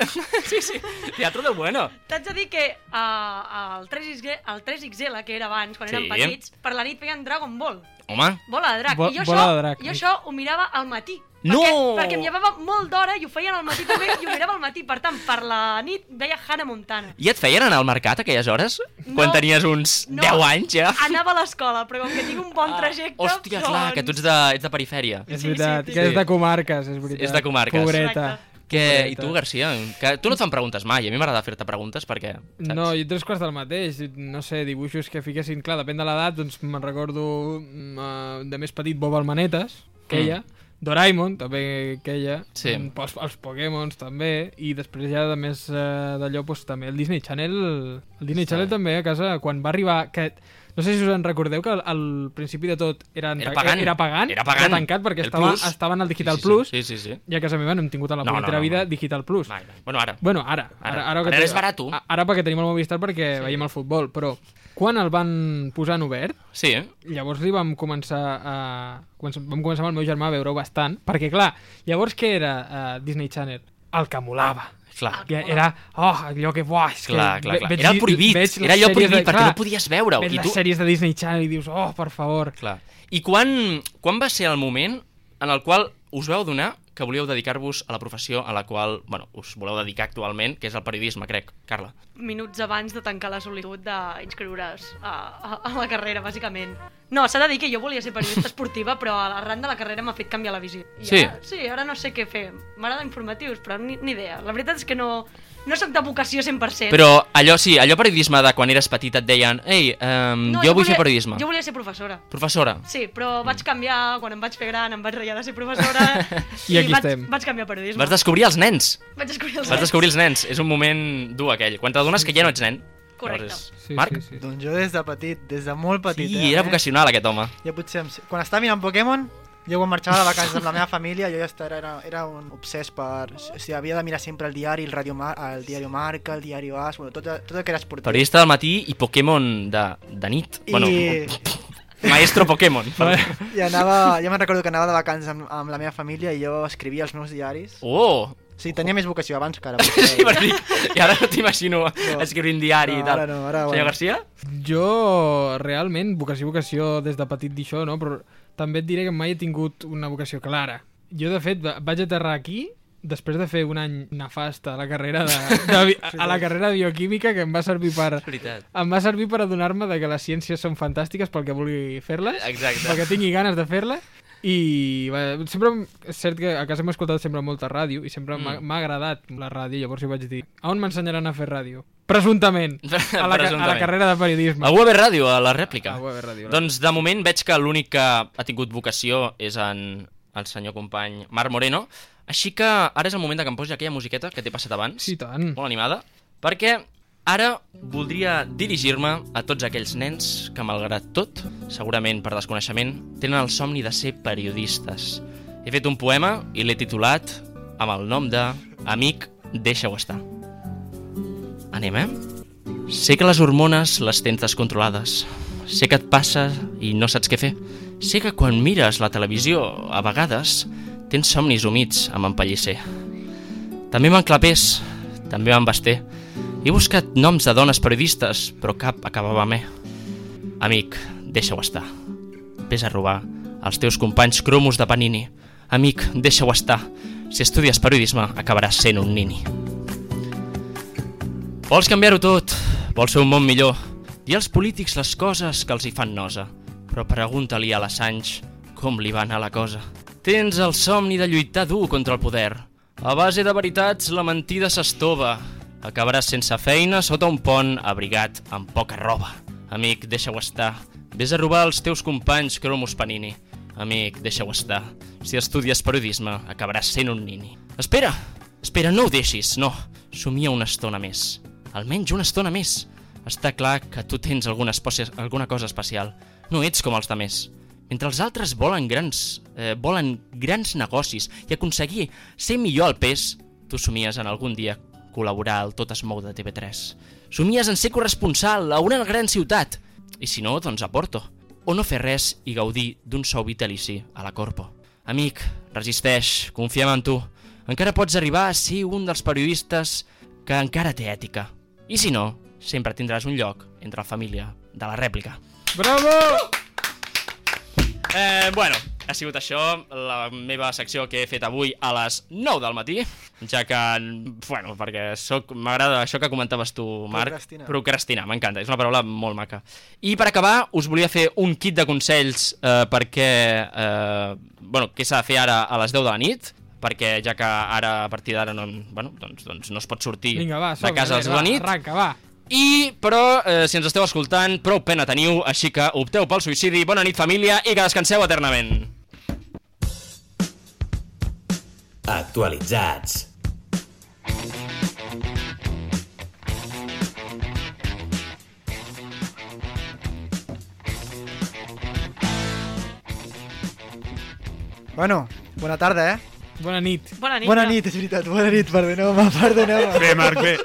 S3: Sí, sí.
S6: Teatro del bueno.
S3: T'haig de dir que uh, el, 3XG, el 3XL, que era abans, quan
S6: Sí.
S3: érem petits, per la nit feien Dragon Ball.
S6: Home.
S3: Bola de drac.
S6: Bo-
S3: I jo
S6: bola
S3: això,
S6: de drac. eh.
S3: jo això ho mirava al matí.
S6: No!
S3: Perquè, perquè em llevava molt d'hora i ho feien al matí també i ho mirava al matí. Per tant, per la nit veia Hannah Montana.
S6: I et feien anar al mercat aquelles hores?
S3: No.
S6: Quan tenies uns
S3: No.
S6: 10 anys, ja? Ah,
S3: Anava a l'escola, però com que tinc un bon trajecte...
S6: Hòstia,
S3: doncs...
S6: clar, que tu ets de, ets de perifèria.
S2: És veritat, que és de comarques, és veritat.
S6: És de comarques.
S2: Pobreta.
S6: Que, I tu, Garcia, que tu no et fan preguntes mai. A mi m'agrada fer-te preguntes perquè...
S2: No, jo tres quarts del mateix, no sé, dibuixos que fiquessin, clar, depèn de l'edat, doncs me'n recordo mm, eh, de més petit Bob Almanetes, aquella, mm. Doraemon, també aquella,
S6: Sí.
S2: mm, pos- els Pokémons també, i després ja de més eh, d'allò, doncs, també el Disney Channel, el Disney Channel també a casa, quan va arribar, que no sé si us en recordeu que al, al principi de tot eren,
S6: Era pagant.
S2: era pagant,
S6: Era pagant.
S2: tancat perquè
S6: El
S2: estava,
S6: Plus.
S2: estaven al Digital
S6: Sí, sí, sí.
S2: Plus,
S6: Sí, sí, sí.
S2: i a casa meva no hem tingut a la
S6: No, no,
S2: punyetera
S6: no,
S2: vida Digital Plus.
S6: Bueno, ara.
S2: Bueno, ara. Ara,
S6: Ara.
S2: ara,
S6: Ara
S2: te-
S6: és barato.
S2: a- Ara perquè tenim el Movistar perquè sí. veiem el futbol, però quan el van posar en obert,
S6: Sí, eh?
S2: llavors li vam començar a... comença- Vam començar amb el meu germà a veure-ho bastant, perquè clar, llavors què era uh, Disney Channel? El que molava.
S6: Clar.
S2: Que era, oh, allò que buah, és
S6: Clar,
S2: que
S6: clar,
S2: ve-
S6: clar.
S2: veig-
S6: Era el prohibit,
S2: veig les
S6: era allò
S2: sèries
S6: prohibit,
S2: de-
S6: perquè
S2: clar,
S6: no podies veure-ho,
S2: Veig
S6: i
S2: les
S6: tu-
S2: sèries de Disney Channel i dius, oh, per favor.
S6: Clar. I quan, quan va ser el moment en el qual us veu donar que volíeu dedicar-vos a la professió a la qual bueno, us voleu dedicar actualment, que és el periodisme, crec, Carla.
S3: minuts abans de tancar la solitud d'inscriure's a, a, a la carrera, bàsicament. No, s'ha de dir que jo volia ser periodista esportiva, però arran de la carrera m'ha fet canviar la visió. I
S6: Sí.
S3: Ara, sí, ara no sé què fer. M'agrada informatius, però ni, ni idea. La veritat és que no, no sóc de vocació 100%.
S6: Però allò sí, allò periodisme de quan eres petita et deien Ei, um,
S3: No,
S6: no, jo vull fer periodisme.
S3: Jo volia ser professora.
S6: Professora.
S3: Sí, però vaig canviar, quan em vaig fer gran, em vaig reiar de ser
S6: [laughs]
S3: professora.
S6: I aquí
S3: vaig,
S6: estem.
S3: Vaig canviar a periodisme.
S6: Vas descobrir els nens.
S3: Vaig descobrir els
S6: Vas
S3: nens.
S6: descobrir els nens. És un moment dur aquell. Quan t'adones que ja no ets nen.
S3: Correcte.
S6: Llavors és-
S2: Sí,
S6: Marc?
S2: Sí, sí.
S4: Doncs jo des de petit, des de molt petit.
S6: Sí,
S4: eh,
S6: era
S4: eh?
S6: vocacional aquest home.
S4: Jo potser, em- quan estava mirant Pokémon, jo quan marxava de vacances amb la meva família, jo ja estava- era, era un obsès per... O sigui, havia de mirar sempre el diari, el, radio, Mar- el diari Marca, el diari As, bueno, tot, tot el que era esportiu.
S6: Periodista del matí i Pokémon de, de nit.
S4: I-
S6: Bueno, [laughs] maestro Pokémon.
S4: I anava, ja me'n recordo que anava de vacances amb, amb la meva família i jo escrivia els meus diaris.
S6: Oh!
S4: O sigui, tenia més vocació abans que ara. Sí,
S6: per dir, I ara no t'imagino escrivint diari i
S4: No,
S6: tal.
S4: ara no, ara,
S6: Senyor
S4: bueno.
S6: Garcia?
S2: Jo, realment, vocació, vocació, des de petit d'això, no? Però també et diré que mai he tingut una vocació clara. Jo, de fet, va- vaig aterrar aquí després de fer un any nefasta a la carrera de, de, bi- a la carrera de bioquímica que em va servir per
S6: veritat.
S2: em va servir per adonar-me de que les ciències són fantàstiques pel que vulgui fer-les
S6: Exacte.
S2: pel que tingui ganes de fer-les i va, sempre em- és cert que a casa hem escoltat sempre molta ràdio i sempre m'ha
S6: Mm.
S2: m'ha agradat la ràdio llavors hi vaig dir on m'ensenyaran a fer ràdio? presumptament a la, ca- a la
S6: Presumptament.
S2: carrera de periodisme
S6: A UAB Ràdio, a la rèplica.
S2: A UAB Ràdio, la
S6: Doncs de moment veig que l'únic que ha tingut vocació és en el senyor company Marc Moreno, així que ara és el moment de que em posi aquella musiqueta que t'he passat abans.
S2: Sí, tant.
S6: Molt animada, perquè ara voldria dirigir-me a tots aquells nens que, malgrat tot, segurament per desconeixement, tenen el somni de ser periodistes. He fet un poema i l'he titulat amb el nom de Amic, deixa-ho estar. Anem, eh? Sé que les hormones les tens descontrolades. Sé que et passa i no saps què fer. Sé que quan mires la televisió, a vegades, tens somnis humits amb en Pellicer. També m'enclapés, també m'embasté. He buscat noms de dones periodistes, però cap acabava bé. Amic, deixa-ho estar. Ves a robar als teus companys cromos de Panini. Amic, deixa-ho estar. Si estudies periodisme, acabaràs sent un nini. Vols canviar-ho tot, vols ser un món millor. Dir als polítics les coses que els hi fan nosa, però pregunta-li a l'Assange com li va anar la cosa. Tens el somni de lluitar dur contra el poder. A base de veritats, la mentida s'estova. Acabaràs sense feina sota un pont abrigat amb poca roba. Amic, deixa-ho estar. Ves a robar als teus companys cromos panini. Amic, deixa-ho estar. Si estudies periodisme, acabaràs sent un nini. Espera! Espera, no ho deixis, no. Somia una estona més. Almenys una estona més. Està clar que tu tens alguna, espocia, alguna cosa especial. No ets com els de més. Mentre els altres volen grans, eh, volen grans negocis i aconseguir ser millor al pes, tu somies en algun dia col·laborar al Tot es mou de TV3. Somies en ser corresponsal a una gran ciutat. I si no, doncs a Porto. O no fer res i gaudir d'un sou vitalici a la Corpo. Amic, resisteix, confiem en tu. Encara pots arribar a ser un dels periodistes que encara té ètica. I si no, sempre tindràs un lloc entre la família de la rèplica.
S2: Bravo!
S6: Eh, bueno, ha sigut això la meva secció que he fet avui a les 9 del matí, ja que, bueno, perquè soc- m'agrada això que comentaves tu, Marc.
S4: Procrastinar.
S6: Procrastinar, m'encanta, és una paraula molt maca. I per acabar, us volia fer un kit de consells eh, perquè, eh, bueno, què s'ha de fer ara a les 10 de la nit, perquè ja que ara, a partir d'ara, no, bueno, doncs, doncs no es pot sortir
S2: Vinga, va,
S6: de
S2: som,
S6: casa a les 10 de la nit.
S2: Arranca, va.
S6: I, però, eh, si ens esteu escoltant, prou pena teniu, així que opteu pel suïcidi, bona nit família i que descanseu eternament.
S1: Actualitzats.
S4: Bueno, bona tarda, eh?
S2: Bona nit.
S3: Bona nit.
S4: Bona nit, és veritat. Bona nit, perdoneu-me, perdoneu-me.
S5: [laughs] Bé, Marc, bé.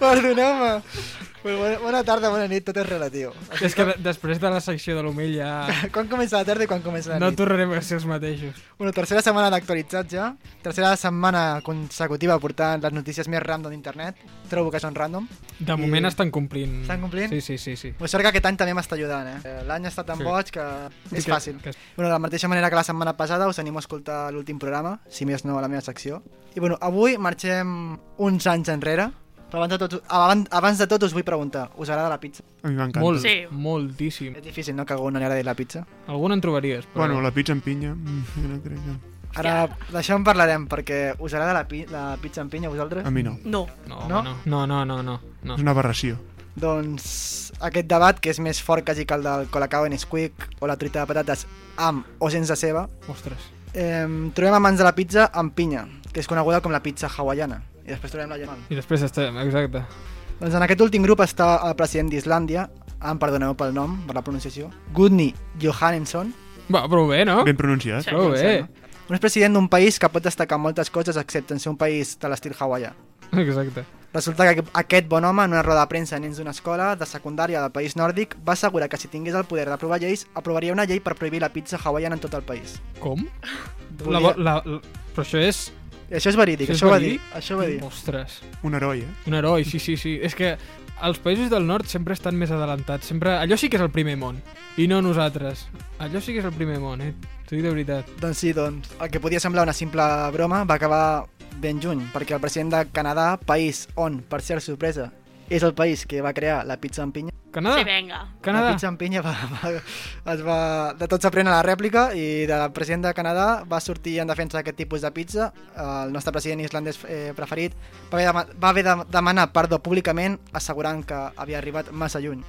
S4: Perdoneu-me. Però Bona, bona tarda, bona nit, tot és relatiu.
S2: És que de- després de la secció de l'Humil ja
S4: [laughs] Quan comença la tarda i quan comença la
S2: no
S4: nit?
S2: tornarem a ser els mateixos.
S4: Bueno, tercera setmana d'actualitzats ja. Tercera setmana consecutiva portant les notícies més random d'internet. Trobo que són random.
S2: De moment estan complint.
S4: Estan complint?
S2: Sí, sí, sí. sí.
S4: Pues sort que aquest any també m'està ajudant, eh? Eh, L'any ha estat tan
S2: Sí.
S4: boig que és
S2: Que-
S4: fàcil.
S2: que-
S4: Bueno, de la mateixa manera que la setmana passada us animo a escoltar l'últim programa, si més no a la meva secció. I bueno, avui marxem uns anys enrere. Però abans de tot, abans, abans de tot us vull preguntar, us agrada la pizza?
S5: A mi m'encanta.
S2: Molt, sí. moltíssim.
S4: És difícil, no, que a algú no li agradi la pizza.
S2: Algun en trobaries, però...
S5: Bueno, la pizza amb pinya, mm, jo no crec que...
S4: Ara, d'això en parlarem, perquè us agrada la, pi la pizza amb pinya a vosaltres?
S5: A mi no.
S3: No.
S2: No, no? no. No, no, no, no. no.
S5: És una aberració.
S4: Doncs aquest debat, que és més fort quasi que el del Colacao en Squeak o la truita de patates amb o sense ceba,
S2: Ostres.
S4: eh, trobem a mans de la pizza amb pinya, que és coneguda com la pizza hawaiana. I després trobem la llamant.
S2: I després estem, exacte.
S4: Doncs en aquest últim grup està el president d'Islàndia, em perdoneu pel nom, per la pronunciació, Gudni Johannesson,
S2: Va, prou bé, no?
S5: Ben pronunciat.
S4: Sí,
S2: prou bé.
S4: un és president d'un país que pot destacar en moltes coses excepte en ser un país de l'estil hawaià.
S2: Exacte.
S4: Resulta que aqu- aquest bon home, en una roda de premsa a nens d'una escola de secundària del país nòrdic, va assegurar que si tingués el poder d'aprovar lleis, aprovaria una llei per prohibir la pizza hawaiana en tot el país.
S2: Com? La,
S4: Volia-
S2: bo- la, la, però això és...
S4: Això és verídic, això,
S2: és
S4: va dir,
S2: verídic?
S4: això va dir.
S2: Ostres.
S5: Un heroi, eh?
S2: Un heroi, sí, sí, sí. És que els països del nord sempre estan més adelantats. Sempre... Allò sí que és el primer món. I no nosaltres. Allò sí que és el primer món, eh? T'ho dic de veritat.
S4: Doncs sí, doncs, el que podia semblar una simple broma va acabar ben juny, perquè el president de Canadà, país on, per ser sorpresa, és el país que va crear la pizza amb pinya.
S2: Canadà?
S6: Ah.
S3: Sí, venga.
S2: Canadà?
S4: La pizza amb pinya va, va, es va, de tot s'aprèn a la rèplica i del president de Canadà va sortir en defensa d'aquest tipus de pizza. El nostre president islandès eh, preferit va haver, de, va haver de demanar perdó públicament assegurant que havia arribat massa lluny.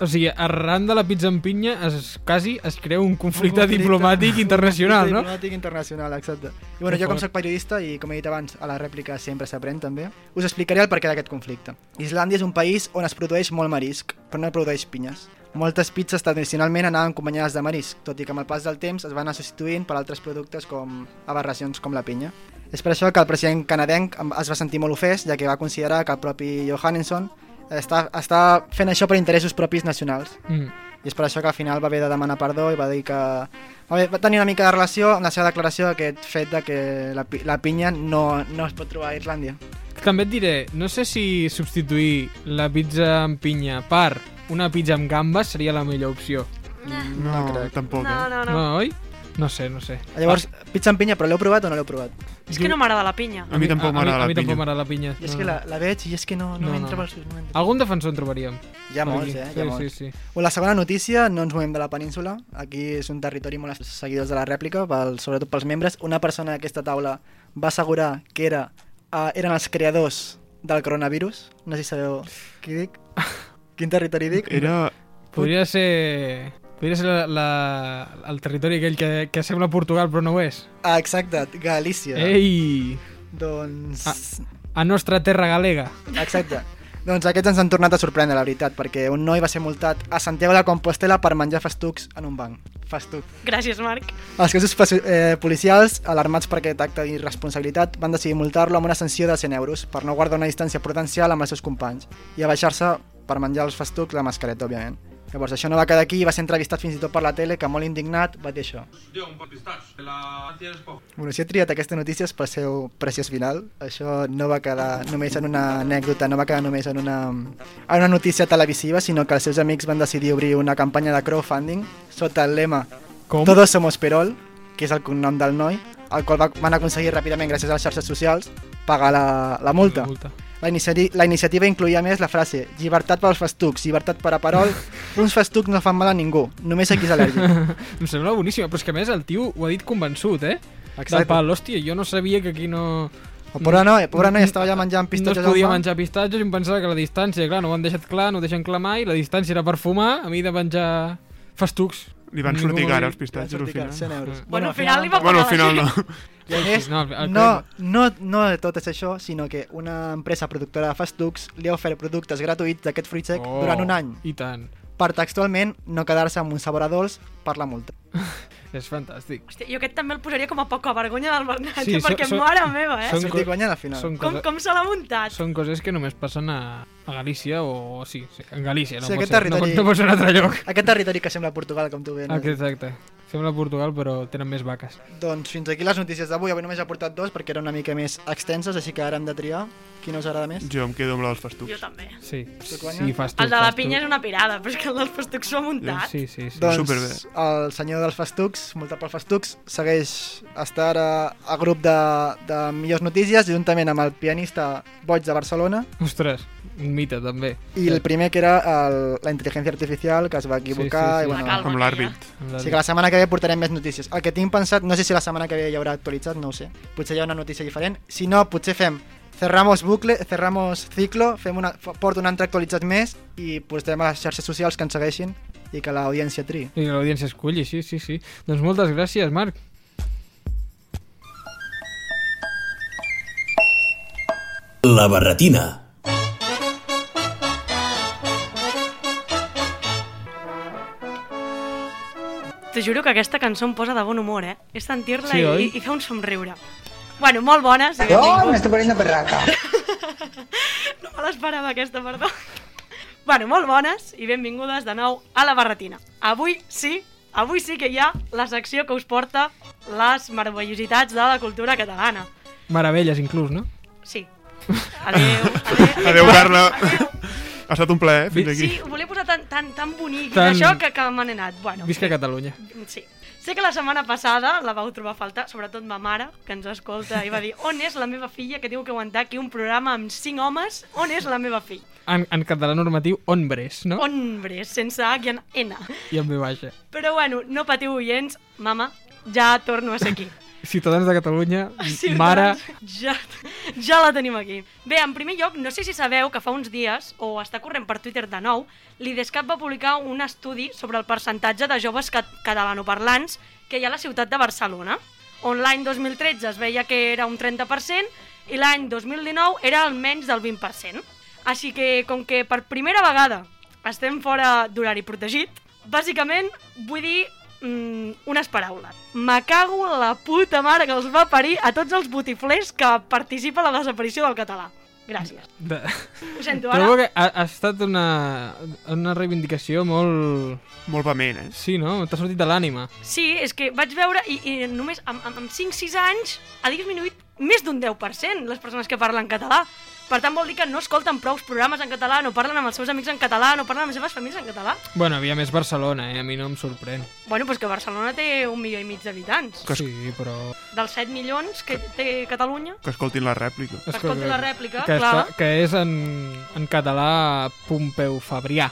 S2: O sigui, arran de la pizza amb pinya es, quasi es crea un conflicte,
S4: Un conflicte-
S2: diplomàtic internacional,
S4: conflicte
S2: no?
S4: Diplomàtic internacional, exacte. I bueno,
S2: Per
S4: jo com
S2: favor.
S4: soc periodista i com he dit abans, a la rèplica sempre s'aprèn també, us explicaré el perquè d'aquest conflicte. Islàndia és un país on es produeix molt marisc, però no produeix pinyes. Moltes pizzas tradicionalment anaven acompanyades de marisc, tot i que amb el pas del temps es van anar substituint per altres productes com aberracions com la pinya. És per això que el president canadenc em- es va sentir molt ofès, ja que va considerar que el propi Johannesson està, està fent això per interessos propis nacionals.
S2: Mm.
S4: I és per això que al final va haver de demanar perdó i va dir que... Va, haver, va tenir una mica de relació amb la seva declaració d'aquest fet de que la, pi- la pinya no, no es pot trobar a Irlàndia.
S2: També et diré, no sé si substituir la pizza amb pinya per una pizza amb gambes seria la millor opció.
S5: No, tampoc,
S3: No,
S5: eh?
S3: no, no.
S2: No, oi? No sé, no sé.
S4: Llavors, pizza amb pinya, però l'heu provat o no l'heu provat?
S3: És que no m'agrada la pinya.
S5: A mi tampoc
S2: a mi-
S5: m'agrada
S2: a
S5: la
S2: mi tampoc
S5: pinya.
S2: m'agrada la pinya.
S4: I és que la, la veig i és que
S2: No,
S4: no, no, no
S2: no.
S4: m'entra pels ulls. no m'entra.
S2: Algun defensor en trobaríem.
S4: Hi ha molts,
S2: Aquí.
S4: eh? Hi ha
S2: sí,
S4: molts.
S2: Sí, sí.
S4: O la segona notícia, no ens movem de la península. Aquí és un territori molt seguidors de la rèplica, pel, sobretot pels membres. Una persona d'aquesta taula va assegurar que era, eh, eren els creadors del coronavirus. No sé si sabeu qui
S2: [laughs]
S4: dic. Quin territori dic?
S5: Era...
S2: Podria ser... Podria ser la, la, el territori aquell que, que sembla Portugal però no ho és.
S4: Ah, exacte, Galícia.
S2: Ei! Ah.
S4: Doncs...
S2: A, a nostra terra galega.
S4: Exacte. Doncs aquests ens han tornat a sorprendre, la veritat, perquè un noi va ser multat a Santiago de Compostela per menjar festucs en un banc. Festuc.
S3: Gràcies, Marc.
S4: Els cossos faci- eh, policials, alarmats per aquest acte d'irresponsabilitat, van decidir multar-lo amb una sanció de 100 euros per no guardar una distància prudencial amb els seus companys i abaixar-se per menjar els festucs la mascareta, òbviament. Llavors, això no va quedar aquí i va ser entrevistat fins i tot per la tele, que molt indignat va dir això. Bueno, si he triat aquesta notícia és pel seu preciós final. Això no va quedar només en una anècdota, no va quedar només en una, en una notícia televisiva, sinó que els seus amics van decidir obrir una campanya de crowdfunding sota el lema
S2: Com?
S4: Todos somos Perol, que és el cognom del noi, el qual va, van aconseguir ràpidament gràcies a les xarxes socials pagar la, la multa.
S2: La multa.
S4: La, iniciati la iniciativa incluïa a més la frase Llibertat pels festucs, llibertat per a
S2: [laughs]
S4: Perol, uns festucs no fan mal a ningú, només a qui és al·lèrgic.
S2: em sembla boníssima, però és que a més el tio ho ha dit convençut, eh?
S4: Exacte.
S2: Del pal, hòstia, jo no sabia que aquí no...
S4: El pobre noi, el pobre noi estava allà menjant
S2: No
S4: pistatxos
S2: es podia
S4: al banc.
S2: menjar pistatxos i em pensava que la distància, clar, no ho han deixat clar, no ho deixen clar mai, la distància era per fumar, a mi de menjar festucs.
S5: Li van
S2: Ningú
S5: sortir
S2: m'ho
S5: cara els
S2: diu.
S5: pistatxos al final.
S4: euros.
S3: Bueno, al final li va
S5: Bueno, al
S3: pagar la
S5: final no.
S3: gent.
S4: I a més,
S2: No,
S4: no,
S2: el
S4: no, no, no de tot és això, sinó que una empresa productora de festucs li ha ofert productes gratuïts d'aquest fruit sec
S2: Oh,
S4: durant un any,
S2: I tant,
S4: per textualment no quedar-se amb un sabor a dolç per la multa.
S2: és fantàstic.
S3: Hòstia, jo aquest també el posaria com a poca vergonya del Bernat,
S2: Sí,
S3: sí,
S2: so-
S3: [laughs] perquè,
S2: so-
S3: mare meva, eh?
S2: són
S4: Sortir
S2: co-
S4: guanyant al final.
S2: Són
S3: Com,
S2: coses,
S3: com se l'ha muntat?
S2: són coses que només passen a, a Galícia o... Sí, sí en Galícia, no,
S4: Sí,
S2: pot
S4: aquest
S2: ser, no, pot- no pot ser en altre lloc.
S4: Aquest territori que sembla Portugal, com tu bé.
S2: Aquest, exacte. Sembla Portugal, però tenen més vaques.
S4: Doncs fins aquí les notícies d'avui. Avui només he portat dos perquè eren una mica més extenses, així que ara hem de triar quina us agrada més.
S5: Jo em quedo amb la dels festucs.
S3: Jo també.
S2: Sí,
S4: guanyes?
S2: sí, fas tu.
S3: El de la
S2: fas tu.
S3: pinya és una pirada, però és que el dels festucs s'ho ha muntat.
S2: Sí, sí, sí.
S4: Doncs el senyor dels festucs, multat pel festucs, segueix estar ara a grup de, de millors notícies juntament amb el pianista Boig de Barcelona
S2: Ostres, un mite, també.
S4: Doncs- i el primer que era el, la intel·ligència artificial que es va equivocar.
S2: sí.
S4: i, bueno,
S2: La calma, Amb l'àrbit. tia.
S4: Sí que la setmana que ve portarem més notícies. El que tinc pensat, no sé si la setmana que ve hi haurà actualitzat, no ho sé. Potser hi ha una notícia diferent. Si no, potser fem cerramos bucle, cerramos ciclo, fem una, porto un altre actualitzat més i postem a les xarxes socials que ens segueixin i que l'audiència triï.
S2: I que l'audiència esculli, sí, sí, sí. Doncs moltes gràcies, Marc.
S1: La barretina.
S3: Te juro que aquesta cançó em posa de bon humor, eh? És sentir-la
S14: Sí,
S3: sí, i,
S14: oi?
S3: i fer un somriure. Bueno, molt bona. Sí,
S14: ¡Oh, me estoy poniendo perraca!
S3: [laughs] No me l'esperava aquesta, perdó. Bueno, molt bones i benvingudes de nou a la barretina. Avui sí, avui sí que hi ha la secció que us porta les meravellositats de la cultura catalana.
S2: Meravelles, inclús, no?
S3: Sí. Adéu. adéu,
S5: Adéu, Carla. Ha estat un plaer, fins aquí.
S3: Sí, ho volia posar tan, tan, tan bonic,
S5: Tan-
S3: tan... això que, que me n'he anat. Bueno,
S2: Visca Catalunya.
S3: Sí. Sé que la setmana passada la vau trobar a faltar, sobretot ma mare, que ens escolta i va dir on és la meva filla que tinc que aguantar aquí un programa amb cinc homes, on és la meva filla?
S2: En, en català normatiu, hombres, no?
S3: Hombres, sense H i en N.
S2: I en B baixa.
S3: Però bueno, no patiu, oients, mama, ja torno a ser aquí.
S2: Ciutadans de Catalunya,
S3: Ah, Sí, doncs,
S2: mare...
S3: Ja, ja la tenim aquí. Bé, en primer lloc, no sé si sabeu que fa uns dies, o està corrent per Twitter de nou, l'IDESCAP va publicar un estudi sobre el percentatge de joves cat catalanoparlants que hi ha a la ciutat de Barcelona, on l'any 2013 es veia que era un 30% i l'any 2019 era almenys del 20%. Així que, com que per primera vegada estem fora d'horari protegit, bàsicament vull dir mm, unes paraules. Me cago en la puta mare que els va parir a tots els botiflers que participa a la desaparició del català. Gràcies.
S2: De...
S3: Ho sento,
S2: Trobo
S3: ara...
S2: que ha, ha estat una, una reivindicació molt...
S5: Molt vehement, eh?
S2: Sí, no? T'ha sortit de l'ànima.
S3: Sí, és que vaig veure i, i només amb, amb, amb 5-6 anys ha disminuït més d'un 10% les persones que parlen català. Per tant, vol dir que no escolten prous programes en català, no parlen amb els seus amics en català, no parlen amb les seves famílies en català.
S2: Bueno, havia més Barcelona, eh? A mi no em sorprèn.
S3: Bueno, però és que Barcelona té un milió i mig d'habitants.
S2: Que... Sí, però...
S3: Dels 7 milions que té Catalunya,
S5: Que escoltin la rèplica.
S3: Escolti la rèplica,
S2: que
S3: clar.
S2: Està, que és en, en català Pompeu Fabrià.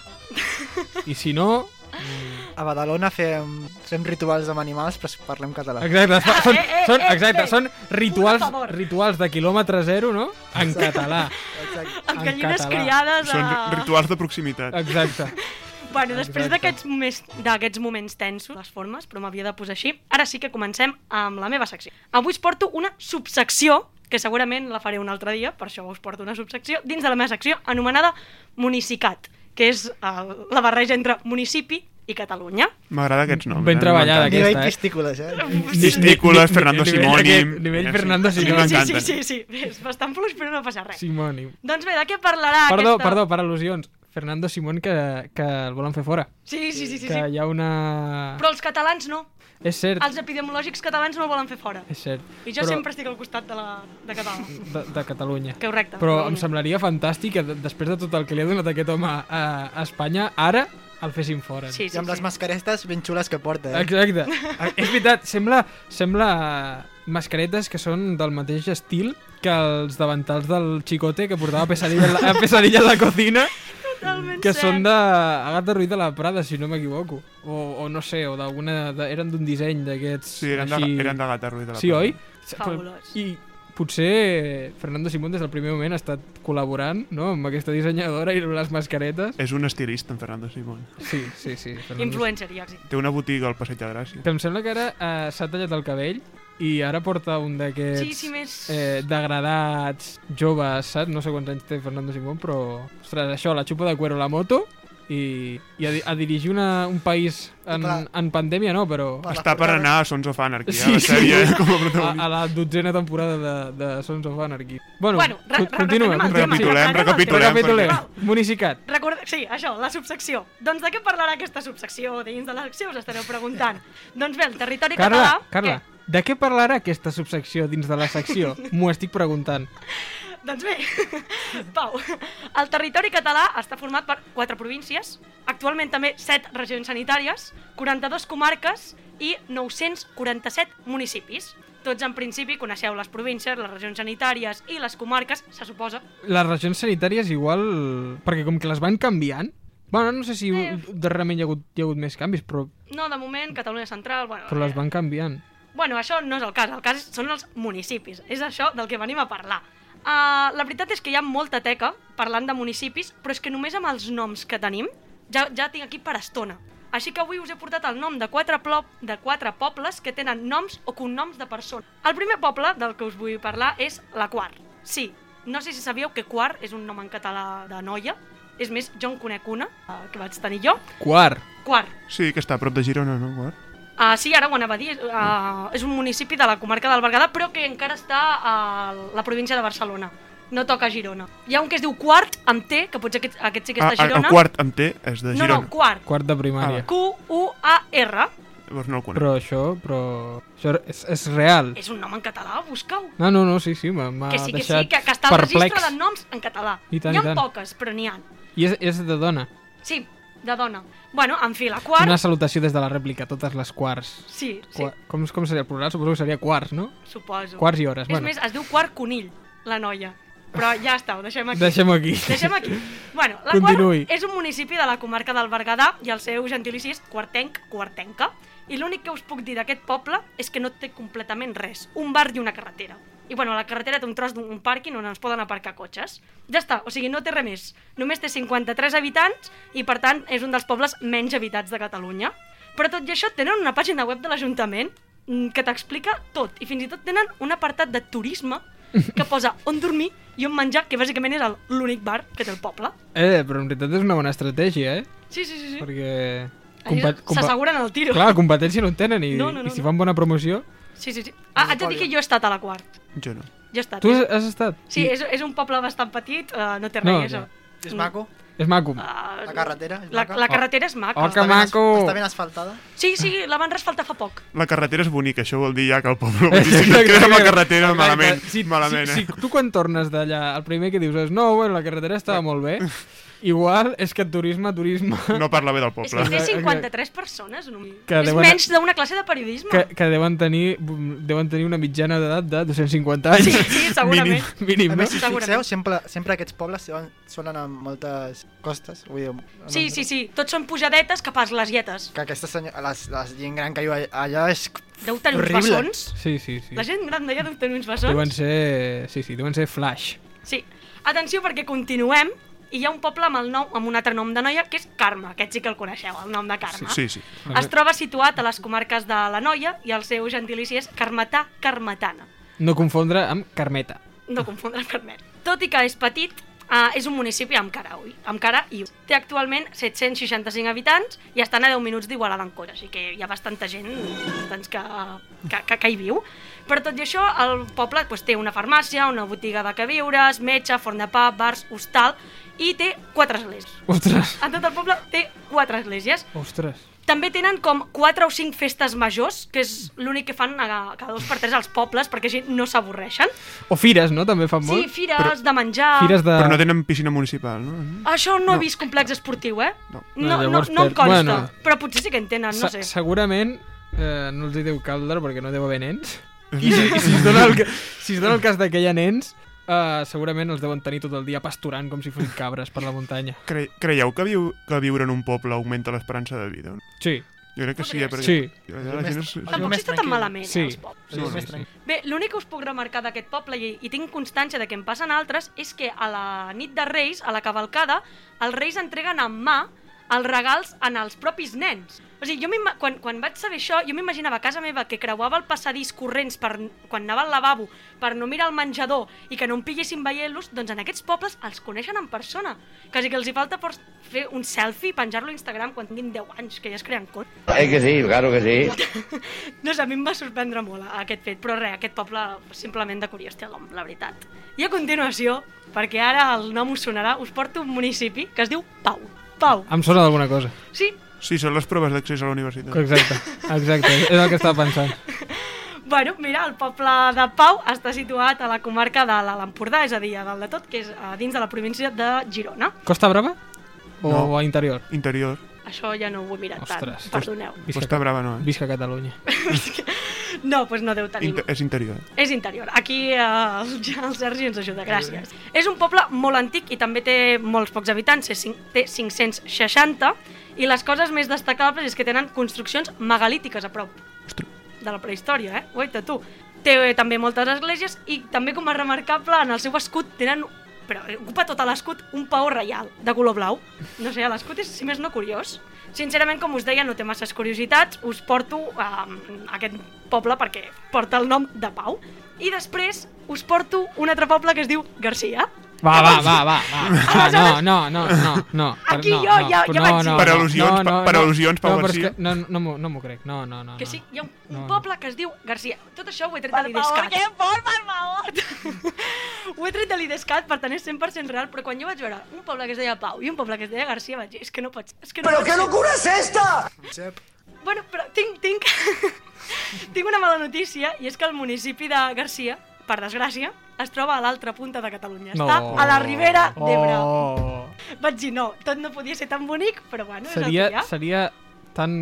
S2: I si no,
S4: a Badalona fem, fem rituals amb animals, però parlem català.
S2: Exacte,
S3: Ah,
S2: fa-
S3: eh,
S2: són, són, exacte, són rituals, rituals de quilòmetre zero, no? En
S4: Exacte.
S2: català.
S4: Exacte.
S3: Amb
S2: En
S3: gallines
S2: català.
S3: criades a...
S5: Són rituals de proximitat.
S2: Exacte.
S3: Bueno, després
S5: Exacte.
S3: d'aquests moments, d'aquests moments tensos, les formes, però m'havia de posar així, ara sí que comencem amb la meva secció. Avui us porto una subsecció, que segurament la faré un altre dia, per això us porto una subsecció, dins de la meva secció, anomenada Municicat, que és el, la barreja entre municipi i Catalunya.
S5: M'agrada aquests noms.
S2: Ben treballada aquesta,
S4: Nivell
S2: eh?
S4: pistícules, eh?
S5: Pistícules, Fernando
S2: Nivell-
S5: Simoni...
S2: aquest- nivell Fernando
S5: sí,
S2: Simoni.
S5: m'encanten.
S3: sí, sí, sí, sí, és bastant fluix, però no passa res.
S2: Simoni.
S3: Doncs bé, de què parlarà
S2: Perdó,
S3: aquesta...
S2: perdó, per al·lusions. Fernando Simón que, que el volen fer fora.
S3: Sí, sí, sí, sí,
S2: Que
S3: sí.
S2: hi ha una...
S3: Però els catalans no.
S2: És cert,
S3: Els epidemiològics catalans no el volen fer fora.
S2: és cert.
S3: I jo
S2: però...
S3: sempre estic al costat de, la, de Catalunya.
S2: de, de Catalunya.
S3: Correcte,
S2: Però
S3: Catalunya.
S2: em semblaria fantàstic que de- després de tot el que li ha donat aquest home a, a Espanya, ara el fessin fora.
S4: I amb les mascaretes ben xules que porta,
S3: [laughs]
S4: eh?
S2: Exacte. És veritat, sembla, sembla mascaretes que són del mateix estil que els davantals del Chicote que
S3: [laughs]
S2: portava pesadilla en la, a pesadilla en la cocina.
S3: Totalment
S2: que
S3: cert.
S2: són de Agatha Ruiz de la Prada, si no m'equivoco. O, o no sé, o d'alguna... de- Eren d'un disseny d'aquests...
S5: Sí, eren de-
S2: així...
S5: eren d'Agatha Ruiz de la
S2: sí,
S5: Prada.
S2: Sí, oi?
S5: Fabulós.
S2: I potser eh, Fernando Simón des del primer moment ha estat col·laborant no? amb aquesta dissenyadora i les mascaretes.
S5: És un estilista, en Fernando Simón.
S2: Sí, sí, sí. Fernando
S3: Influencer, ja.
S5: Té una botiga al Passeig de Gràcia.
S2: Que em sembla que ara eh, s'ha tallat el cabell i ara porta un d'aquests
S3: Sí, sí, més-
S2: eh, degradats joves, saps? No sé quants anys té Fernando Simón, però... Ostres, això, la xupa de cuero la moto i, i a, di- a dirigir una, un país en,
S5: Clar.
S2: en pandèmia, no, però...
S5: Està per anar a Sons of Anarchy, a la sèrie, eh,
S2: Ah,
S5: com a protagonista.
S2: A, a la dotzena temporada de, de Sons of Anarchy. Bueno,
S3: Bueno, re-
S2: co-
S3: re-
S2: continuem.
S3: reprenem el
S5: tema, Recapitulem, recapitulem,
S2: Recapitulem.
S5: perquè-
S2: Municicat.
S3: Recorda... Sí, això, la subsecció. Doncs de què parlarà aquesta subsecció? Dins de la secció us estareu preguntant. doncs bé, el territori
S2: Carla,
S3: català...
S2: Carla, de què parlarà aquesta subsecció dins de la
S3: [laughs]
S2: secció? M'ho estic preguntant.
S3: Doncs bé, [laughs] Pau, el territori català està format per quatre províncies, actualment també 7 regions sanitàries, 42 comarques i 947 municipis. Tots en principi coneixeu les províncies, les regions sanitàries i les comarques, se suposa.
S2: les regions sanitàries igual... Perquè com que les van canviant... Bueno, no sé si
S3: Eh.
S2: darrerament hi ha hagut, hi ha hagut més canvis, però,
S3: No, de moment, Catalunya Central... Bueno,
S2: però les van canviant.
S3: Bueno, això no és el cas, el cas són els municipis. És això del que venim a parlar. Uh, la veritat és que hi ha molta teca parlant de municipis, però és que només amb els noms que tenim ja, ja tinc aquí per estona. Així que avui us he portat el nom de quatre, plop, de quatre pobles que tenen noms o cognoms de persones. El primer poble del que us vull parlar és la Quar. Sí, no sé si sabíeu que Quar és un nom en català de noia. És més, jo en conec una, eh, que vaig tenir jo.
S2: Quart.
S3: Quar.
S5: Sí, que està a prop de Girona, no? Quart?
S3: Uh, sí, ara ho anava a dir. Uh, és un municipi de la comarca del Berguedà, però que encara està a la província de Barcelona. No toca a Girona. Hi ha un que es diu Quart, amb T, que potser aquest, aquest sí que
S5: Ah,
S3: està a Girona.
S5: el quart amb T és de Girona.
S3: No, no, Quart.
S2: Quart de
S3: Ah,
S2: primària.
S3: Q-U-A-R.
S5: Llavors no el conec.
S2: Però això, però... Això és, és real.
S3: És un nom en català, busca-ho.
S2: No, no, no, sí, sí, m'ha m'ha
S3: Que sí, que sí,
S2: Ah, deixat
S3: que, que està al registre
S2: perplex.
S3: de noms en català.
S2: I tant,
S3: n'hi
S2: i
S3: ha
S2: tant.
S3: poques, però n'hi ha.
S2: I és, és de dona.
S3: Sí, de dona. Bueno, en fi, la Quart...
S2: Una salutació des de la rèplica, totes les quarts.
S3: Sí, sí.
S2: Qua- Com, com seria el plural? Suposo que seria quarts, no?
S3: Suposo.
S2: Quarts i hores,
S3: És
S2: bueno.
S3: més, es diu Quart Conill, la noia. Però ja està, ho deixem aquí.
S2: Deixem-ho aquí.
S3: Deixem aquí. Bueno, la
S2: Continuï.
S3: Quart és un municipi de la comarca del Berguedà i el seu gentilici és Quartenc, Quartenca. I l'únic que us puc dir d'aquest poble és que no té completament res. Un bar i una carretera. I bueno, la carretera té un tros d'un pàrquing on es poden aparcar cotxes. Ja està, o sigui, no té res més. Només té 53 habitants i, per tant, és un dels pobles menys habitats de Catalunya. Però tot i això, tenen una pàgina web de l'Ajuntament mm, que t'explica tot. I fins i tot tenen un apartat de turisme que posa on dormir i on menjar, que bàsicament és el- l'únic bar que té el poble.
S2: Eh, però en veritat és una bona estratègia, eh?
S3: Sí, sí, sí. sí.
S2: Perquè...
S3: Ells s'asseguren el tiro.
S2: Clar, competència no en tenen i,
S3: No, no, no,
S2: i si fan bona promoció...
S3: sí, sí, sí. Ah, haig de dir que jo he estat a la quart.
S5: Jo no.
S3: Jo he estat. eh.
S2: Tu has, has estat?
S3: Sí,
S2: I-
S3: és, és un poble bastant petit, uh, no té res,
S2: No,
S3: no,
S2: no.
S3: això.
S4: És maco?
S2: És maco.
S3: Ah,
S4: La carretera és
S3: la,
S4: maca?
S3: la carretera és maca.
S2: Oh, que maco!
S4: Està ben asfaltada?
S3: Sí, sí, la van resfaltar fa poc.
S5: La carretera és bonica, això vol dir ja que el
S2: [laughs]
S5: poble... Si et quedes amb la carretera,
S2: Exacte.
S5: malament.
S2: Si,
S5: malament,
S2: si,
S5: eh? [laughs]
S2: si tu quan tornes d'allà, el primer que dius és no, bueno, la carretera estava molt bé, Igual és que turisme, turisme...
S5: eh? No parla bé del
S3: És que
S2: [laughs]
S3: té 53 persones. No?
S2: Que
S3: és
S2: deuen-
S3: menys d'una classe de periodisme.
S2: Que, que deuen, tenir, deuen tenir una mitjana d'edat de 250 anys. [laughs]
S3: sí, segurament.
S2: Mínim, mínim
S4: a
S2: no?
S4: més, si us fixeu, sempre, sempre aquests pobles solen, solen amb moltes costes. Vull dir,
S3: Sí, sí, sí. Tots són pujadetes que pas les lletes.
S4: Que aquesta senyora, les, les gent gran que viu all- allà és
S3: Deu tenir uns
S4: horrible.
S3: bessons.
S2: Sí, sí, sí.
S3: La gent gran d'allà deu tenir uns bessons.
S2: Deuen ser... Sí, sí, deuen ser flash.
S3: Sí. Atenció perquè continuem i hi ha un poble amb, el nou, amb un altre nom de noia que és Carme, aquest sí que el coneixeu, el nom de Carme.
S5: Sí, sí.
S3: Es troba situat a les comarques de la Noia i el seu gentilici és Carmetà Carmetana.
S2: No confondre amb Carmeta.
S3: No confondre amb Carmet. Tot i que és petit, eh, és un municipi amb cara, ui, amb cara i ulls. Té actualment 765 habitants i estan a 10 minuts d'Igualada en cotxe, així que hi ha bastanta gent doncs, que, que, que, que hi viu. Però tot i això, el poble doncs, té una farmàcia, una botiga de queviures, metge, forn de pa, bars, hostal i té quatre esglésies.
S2: Ostres!
S3: En tot el poble té quatre esglésies.
S2: Ostres!
S3: També tenen com 4 o 5 festes majors, que és l'únic que fan a cada dos per tres als pobles, perquè així no s'avorreixen.
S2: O fires, no? També fan molt.
S3: Sí, fires Però... de menjar...
S2: Fires de...
S5: Però no tenen piscina municipal, no?
S3: Això no,
S5: No.
S3: he vist complex esportiu, eh? No,
S2: No,
S3: no, no,
S2: llavors
S3: no em
S2: per-
S3: consta,
S2: bueno.
S3: però potser sí que en tenen, no
S2: Se-
S3: sé.
S2: Segurament eh, no els hi deu caldre perquè no deu haver
S5: [laughs]
S2: nens. I si, i si, es, dona el, ca- si es dona el cas de que hi ha nens, eh, segurament els deuen tenir tot el dia pasturant com si fossin cabres per la muntanya.
S5: Cre creieu que, viu que viure en un poble augmenta l'esperança de vida? no?
S2: Sí.
S5: Jo crec que sí, eh? Perquè
S2: Sí.
S5: allà La gent es...
S3: Tampoc està tan malament, eh,
S5: Sí.
S3: els pobles.
S5: Sí, sí, sí.
S3: Bé, l'únic que us puc remarcar d'aquest poble, i, i tinc constància de que em passen altres, és que a la nit de Reis, a la cavalcada, els Reis entreguen en mà els regals en els propis nens. O sigui, jo m'ima- quan, quan vaig saber això, jo m'imaginava a casa meva que creuava el passadís corrents per, quan anava al lavabo per no mirar el menjador i que no em pillessin veient-los, doncs en aquests pobles els coneixen en persona. Quasi que els hi falta por- fer un selfie i penjar-lo a Instagram quan tinguin 10 anys, que ja es creen comptes.
S7: Eh que sí, claro que sí.
S3: No sé, a mi em va sorprendre molt eh, aquest fet, però res, aquest poble simplement de curiós té el nom, la veritat. I a continuació, perquè ara el nom us sonarà, us porto un municipi que es diu Pau. Pau.
S2: Em sona d'alguna cosa.
S3: Sí,
S5: Sí, són les proves d'accés a la universitat.
S2: Exacte, exacte. És el que estava pensant.
S3: bueno, mira, el poble de Pau està situat a la comarca de l'Alt Empordà, és a dir, a dalt de tot, que és a dins de la província de Girona.
S2: Costa Brava? O
S5: No.
S2: a interior?
S5: Interior.
S3: Això ja no ho he mirat
S2: Ostres.
S3: tant, perdoneu.
S5: Costa Brava no, eh?
S2: Visca Catalunya.
S3: No, doncs no deu tenir...
S5: Inter és interior.
S3: És interior. Aquí eh, el, el Sergi ens ajuda, gràcies. És un poble molt antic i també té molts pocs habitants, té cinc- té 560, i les coses més destacables és que tenen construccions megalítiques a prop de la prehistòria, eh? Guaita tu. Té eh, també moltes esglésies i també com a remarcable en el seu escut tenen però eh, ocupa tot l'escut un paó reial de color blau. No sé, l'escut és, si més no, curiós. Sincerament, com us deia, no té masses curiositats. Us porto eh, a aquest poble perquè porta el nom de Pau. I després us porto un altre poble que es diu Garcia.
S2: Va, va, va, va,
S3: [laughs]
S2: va. No, no, no, no, no. Per-
S3: Aquí
S2: no,
S3: jo
S2: no,
S3: ja- ja
S2: no,
S3: vaig
S2: no,
S3: dir. Per
S2: no,
S5: al·lusions,
S2: no,
S5: pa-
S2: no,
S5: per
S2: no.
S5: al·lusions, Pau
S2: No, però és
S5: Garcia.
S2: que no, no, m'ho- no m'ho crec. No, no, no.
S3: Que
S2: no.
S3: sí, hi ha un,
S2: Ah,
S3: un
S2: No, no.
S3: poble que es diu Garcia. Tot això ho he tret de l'IDESCAT. Per favor, per favor! [laughs] ho he tret de l'IDESCAT per tenir 100% real, però quan jo vaig veure un poble que es deia Pau i un poble que es deia Garcia, vaig dir, és que no pots... És que no
S14: Però
S3: pot
S14: què
S3: ser".
S14: locura és esta?
S4: Jep.
S3: Bueno, però tinc, tinc, [laughs] tinc una mala notícia, i és que el municipi de Garcia, per desgràcia, es troba a l'altra punta de Catalunya.
S2: No.
S3: Està a la Ribera d'Ebre.
S2: Oh.
S3: Vaig dir, no, tot no podia ser tan bonic, però bueno, és el que hi
S2: Seria,
S3: ha.
S2: seria tan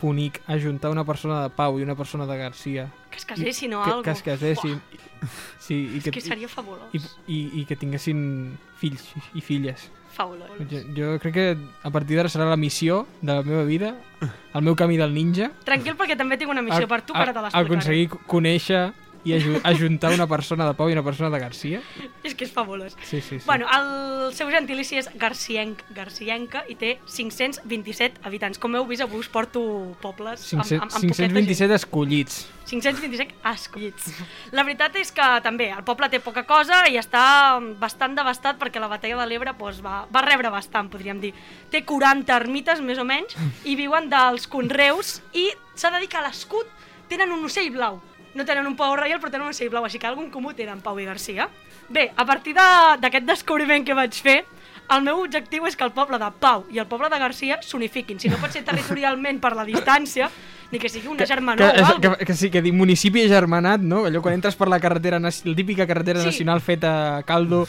S2: bonic ajuntar una persona de Pau i una persona de Garcia.
S3: Que es casessin o
S2: que,
S3: algo.
S2: Que es casessin. Sí, i
S3: És que seria fabulós.
S2: I, i, I que tinguessin fills i- i filles.
S3: Fabulós.
S2: Jo, jo crec que a partir d'ara serà la missió de la meva vida, el meu camí del ninja.
S3: Tranquil, perquè també tinc una missió per tu, que ara te l'explicaré.
S2: Aconseguir co- conèixer i aju- ajuntar una persona de Pau i una persona de Garcia.
S3: [laughs] És que és fabulós.
S2: Sí, sí, sí.
S3: Bueno, el seu gentilici és Garcienc, Garcienca, i té 527 habitants. Com heu vist, avui us porto pobles amb, amb,
S2: 500,
S3: amb poqueta gent.
S2: 527 escollits.
S3: 527 escollits. La veritat és que també el poble té poca cosa i està bastant devastat perquè la batalla de l'Ebre doncs, va, va rebre bastant, podríem dir. Té 40 ermites, més o menys, i viuen dels conreus i s'ha de dir que a l'escut tenen un ocell blau. No tenen un pau reial, però tenen un ocell blau, així que algun comú tenen Pau i Garcia. Bé, a partir de- d'aquest descobriment que vaig fer, el meu objectiu és que el poble de Pau i el poble de Garcia s'unifiquin. Si no pot ser territorialment per la distància, ni que sigui una germanor o
S2: que,
S3: alguna
S2: que, que, sí, que dic municipi agermanat, no? Allò quan entres per la carretera, naci- la típica carretera
S3: Sí.
S2: nacional feta a caldo,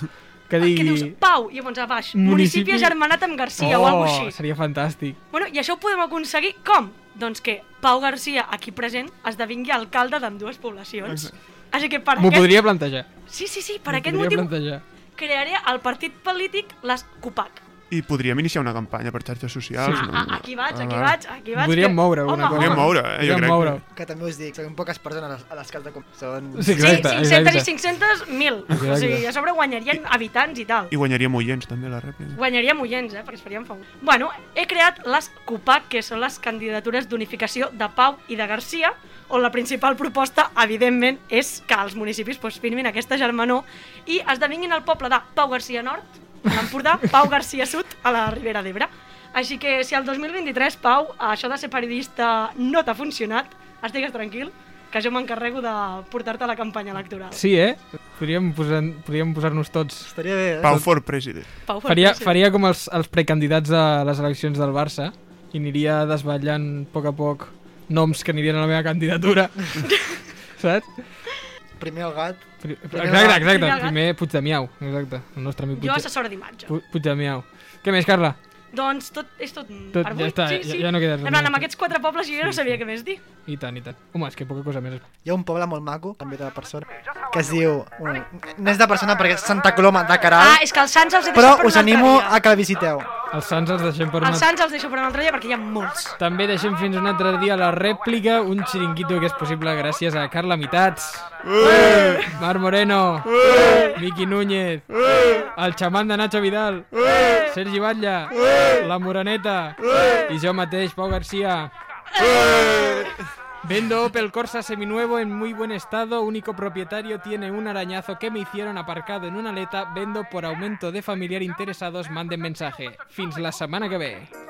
S2: que digui...
S3: Ah, Que dius Pau, i llavors a baix, municipi, municipi agermanat amb Garcia
S2: oh,
S3: o alguna així.
S2: seria fantàstic.
S3: Bueno, i això ho podem aconseguir com? Doncs que Pau Garcia, aquí present, esdevingui alcalde d'ambdues poblacions. Així que per
S2: M'ho
S3: aquest...
S2: podria plantejar.
S3: Sí, sí, sí, per
S2: M'ho
S3: aquest
S2: podria
S3: motiu
S2: plantejar.
S3: crearé el partit polític les CUPAC.
S5: I podríem iniciar una campanya per xarxes socials,
S3: Sí.
S5: no?
S3: Ah, ah, aquí vaig, aquí
S5: va.
S3: vaig, aquí vaig,
S5: Podríem
S3: que-
S5: moure alguna
S3: Home,
S5: cosa. Podríem
S3: home.
S5: moure, eh, jo
S2: Podríem
S5: crec.
S2: moure.
S4: Que també us dic, són poques persones a les que has de... com- Són...
S2: Sí, exacte,
S3: sí, 500 i 500, 1.000. O
S5: Exacte.
S3: sigui, a sobre guanyarien habitants i tal.
S5: I guanyaríem oients, també, la rèplica.
S3: Guanyaríem oients, eh? Perquè es farien favor. Bueno, he creat les CUPAC, que són les candidatures d'unificació de Pau i de Garcia, on la principal proposta, evidentment, és que els municipis pues, firmin aquesta germanor i esdevinguin el poble de Pau Garcia Nord, a
S2: [laughs]
S3: l'Empordà, Pau Garcia Sud, a la Ribera d'Ebre. Així que si el 2023, Pau, això de ser periodista no t'ha funcionat, estigues tranquil, que jo m'encarrego de portar-te la campanya electoral.
S2: Sí, eh? Podríem posar-nos podríem posar tots.
S4: Estaria bé, eh?
S5: Pau for president.
S3: Pau for
S2: faria,
S3: president.
S2: faria com els, els precandidats a les eleccions del Barça i aniria desvetllant a poc a poc noms que anirien a la meva
S3: [laughs]
S2: candidatura. Saps?
S4: Primer el gat.
S2: Pri- Exacte,
S4: Primer el gat.
S2: exacte.
S3: Primer el gat.
S2: Primer Puigdemiau. Exacte. El nostre amic
S3: Jo
S2: Puigde-
S3: assessora d'imatge.
S2: Pu- Puigdemiau. Què més, Carla?
S3: Doncs tot, és tot,
S2: Tot,
S3: per
S2: ja
S3: avui.
S2: està,
S3: sí,
S2: ja-
S3: sí.
S2: ja no queda res
S3: En plan,
S2: més.
S3: amb aquests quatre pobles jo ja no
S2: Sí,
S3: sabia
S2: sí.
S3: què més dir.
S2: I tant, i tant. Home, és que poca cosa més.
S4: Hi ha un poble molt maco, també de persona, que es diu... Bueno, no és de persona perquè és Santa Coloma de Caral,
S3: Ah, és que els Sants els he deixat
S4: però
S3: per un
S4: us
S3: altre
S4: animo
S3: dia.
S4: a que el visiteu.
S2: Els Sants els deixem per una...
S3: Els Sants els deixo per un altre dia perquè hi ha molts.
S2: També deixem fins un altre dia la rèplica, un xiringuito que és possible gràcies a Carla Mitats, Mar Moreno, Miqui Núñez, el xaman de Nacho Vidal, Sergi Batlla, la Moraneta i jo mateix, Pau García. Vendo Opel Corsa seminuevo en muy buen estado, único propietario tiene un arañazo que me hicieron aparcado en una aleta, vendo por aumento de familiar interesados, manden mensaje. Fins la semana que ve.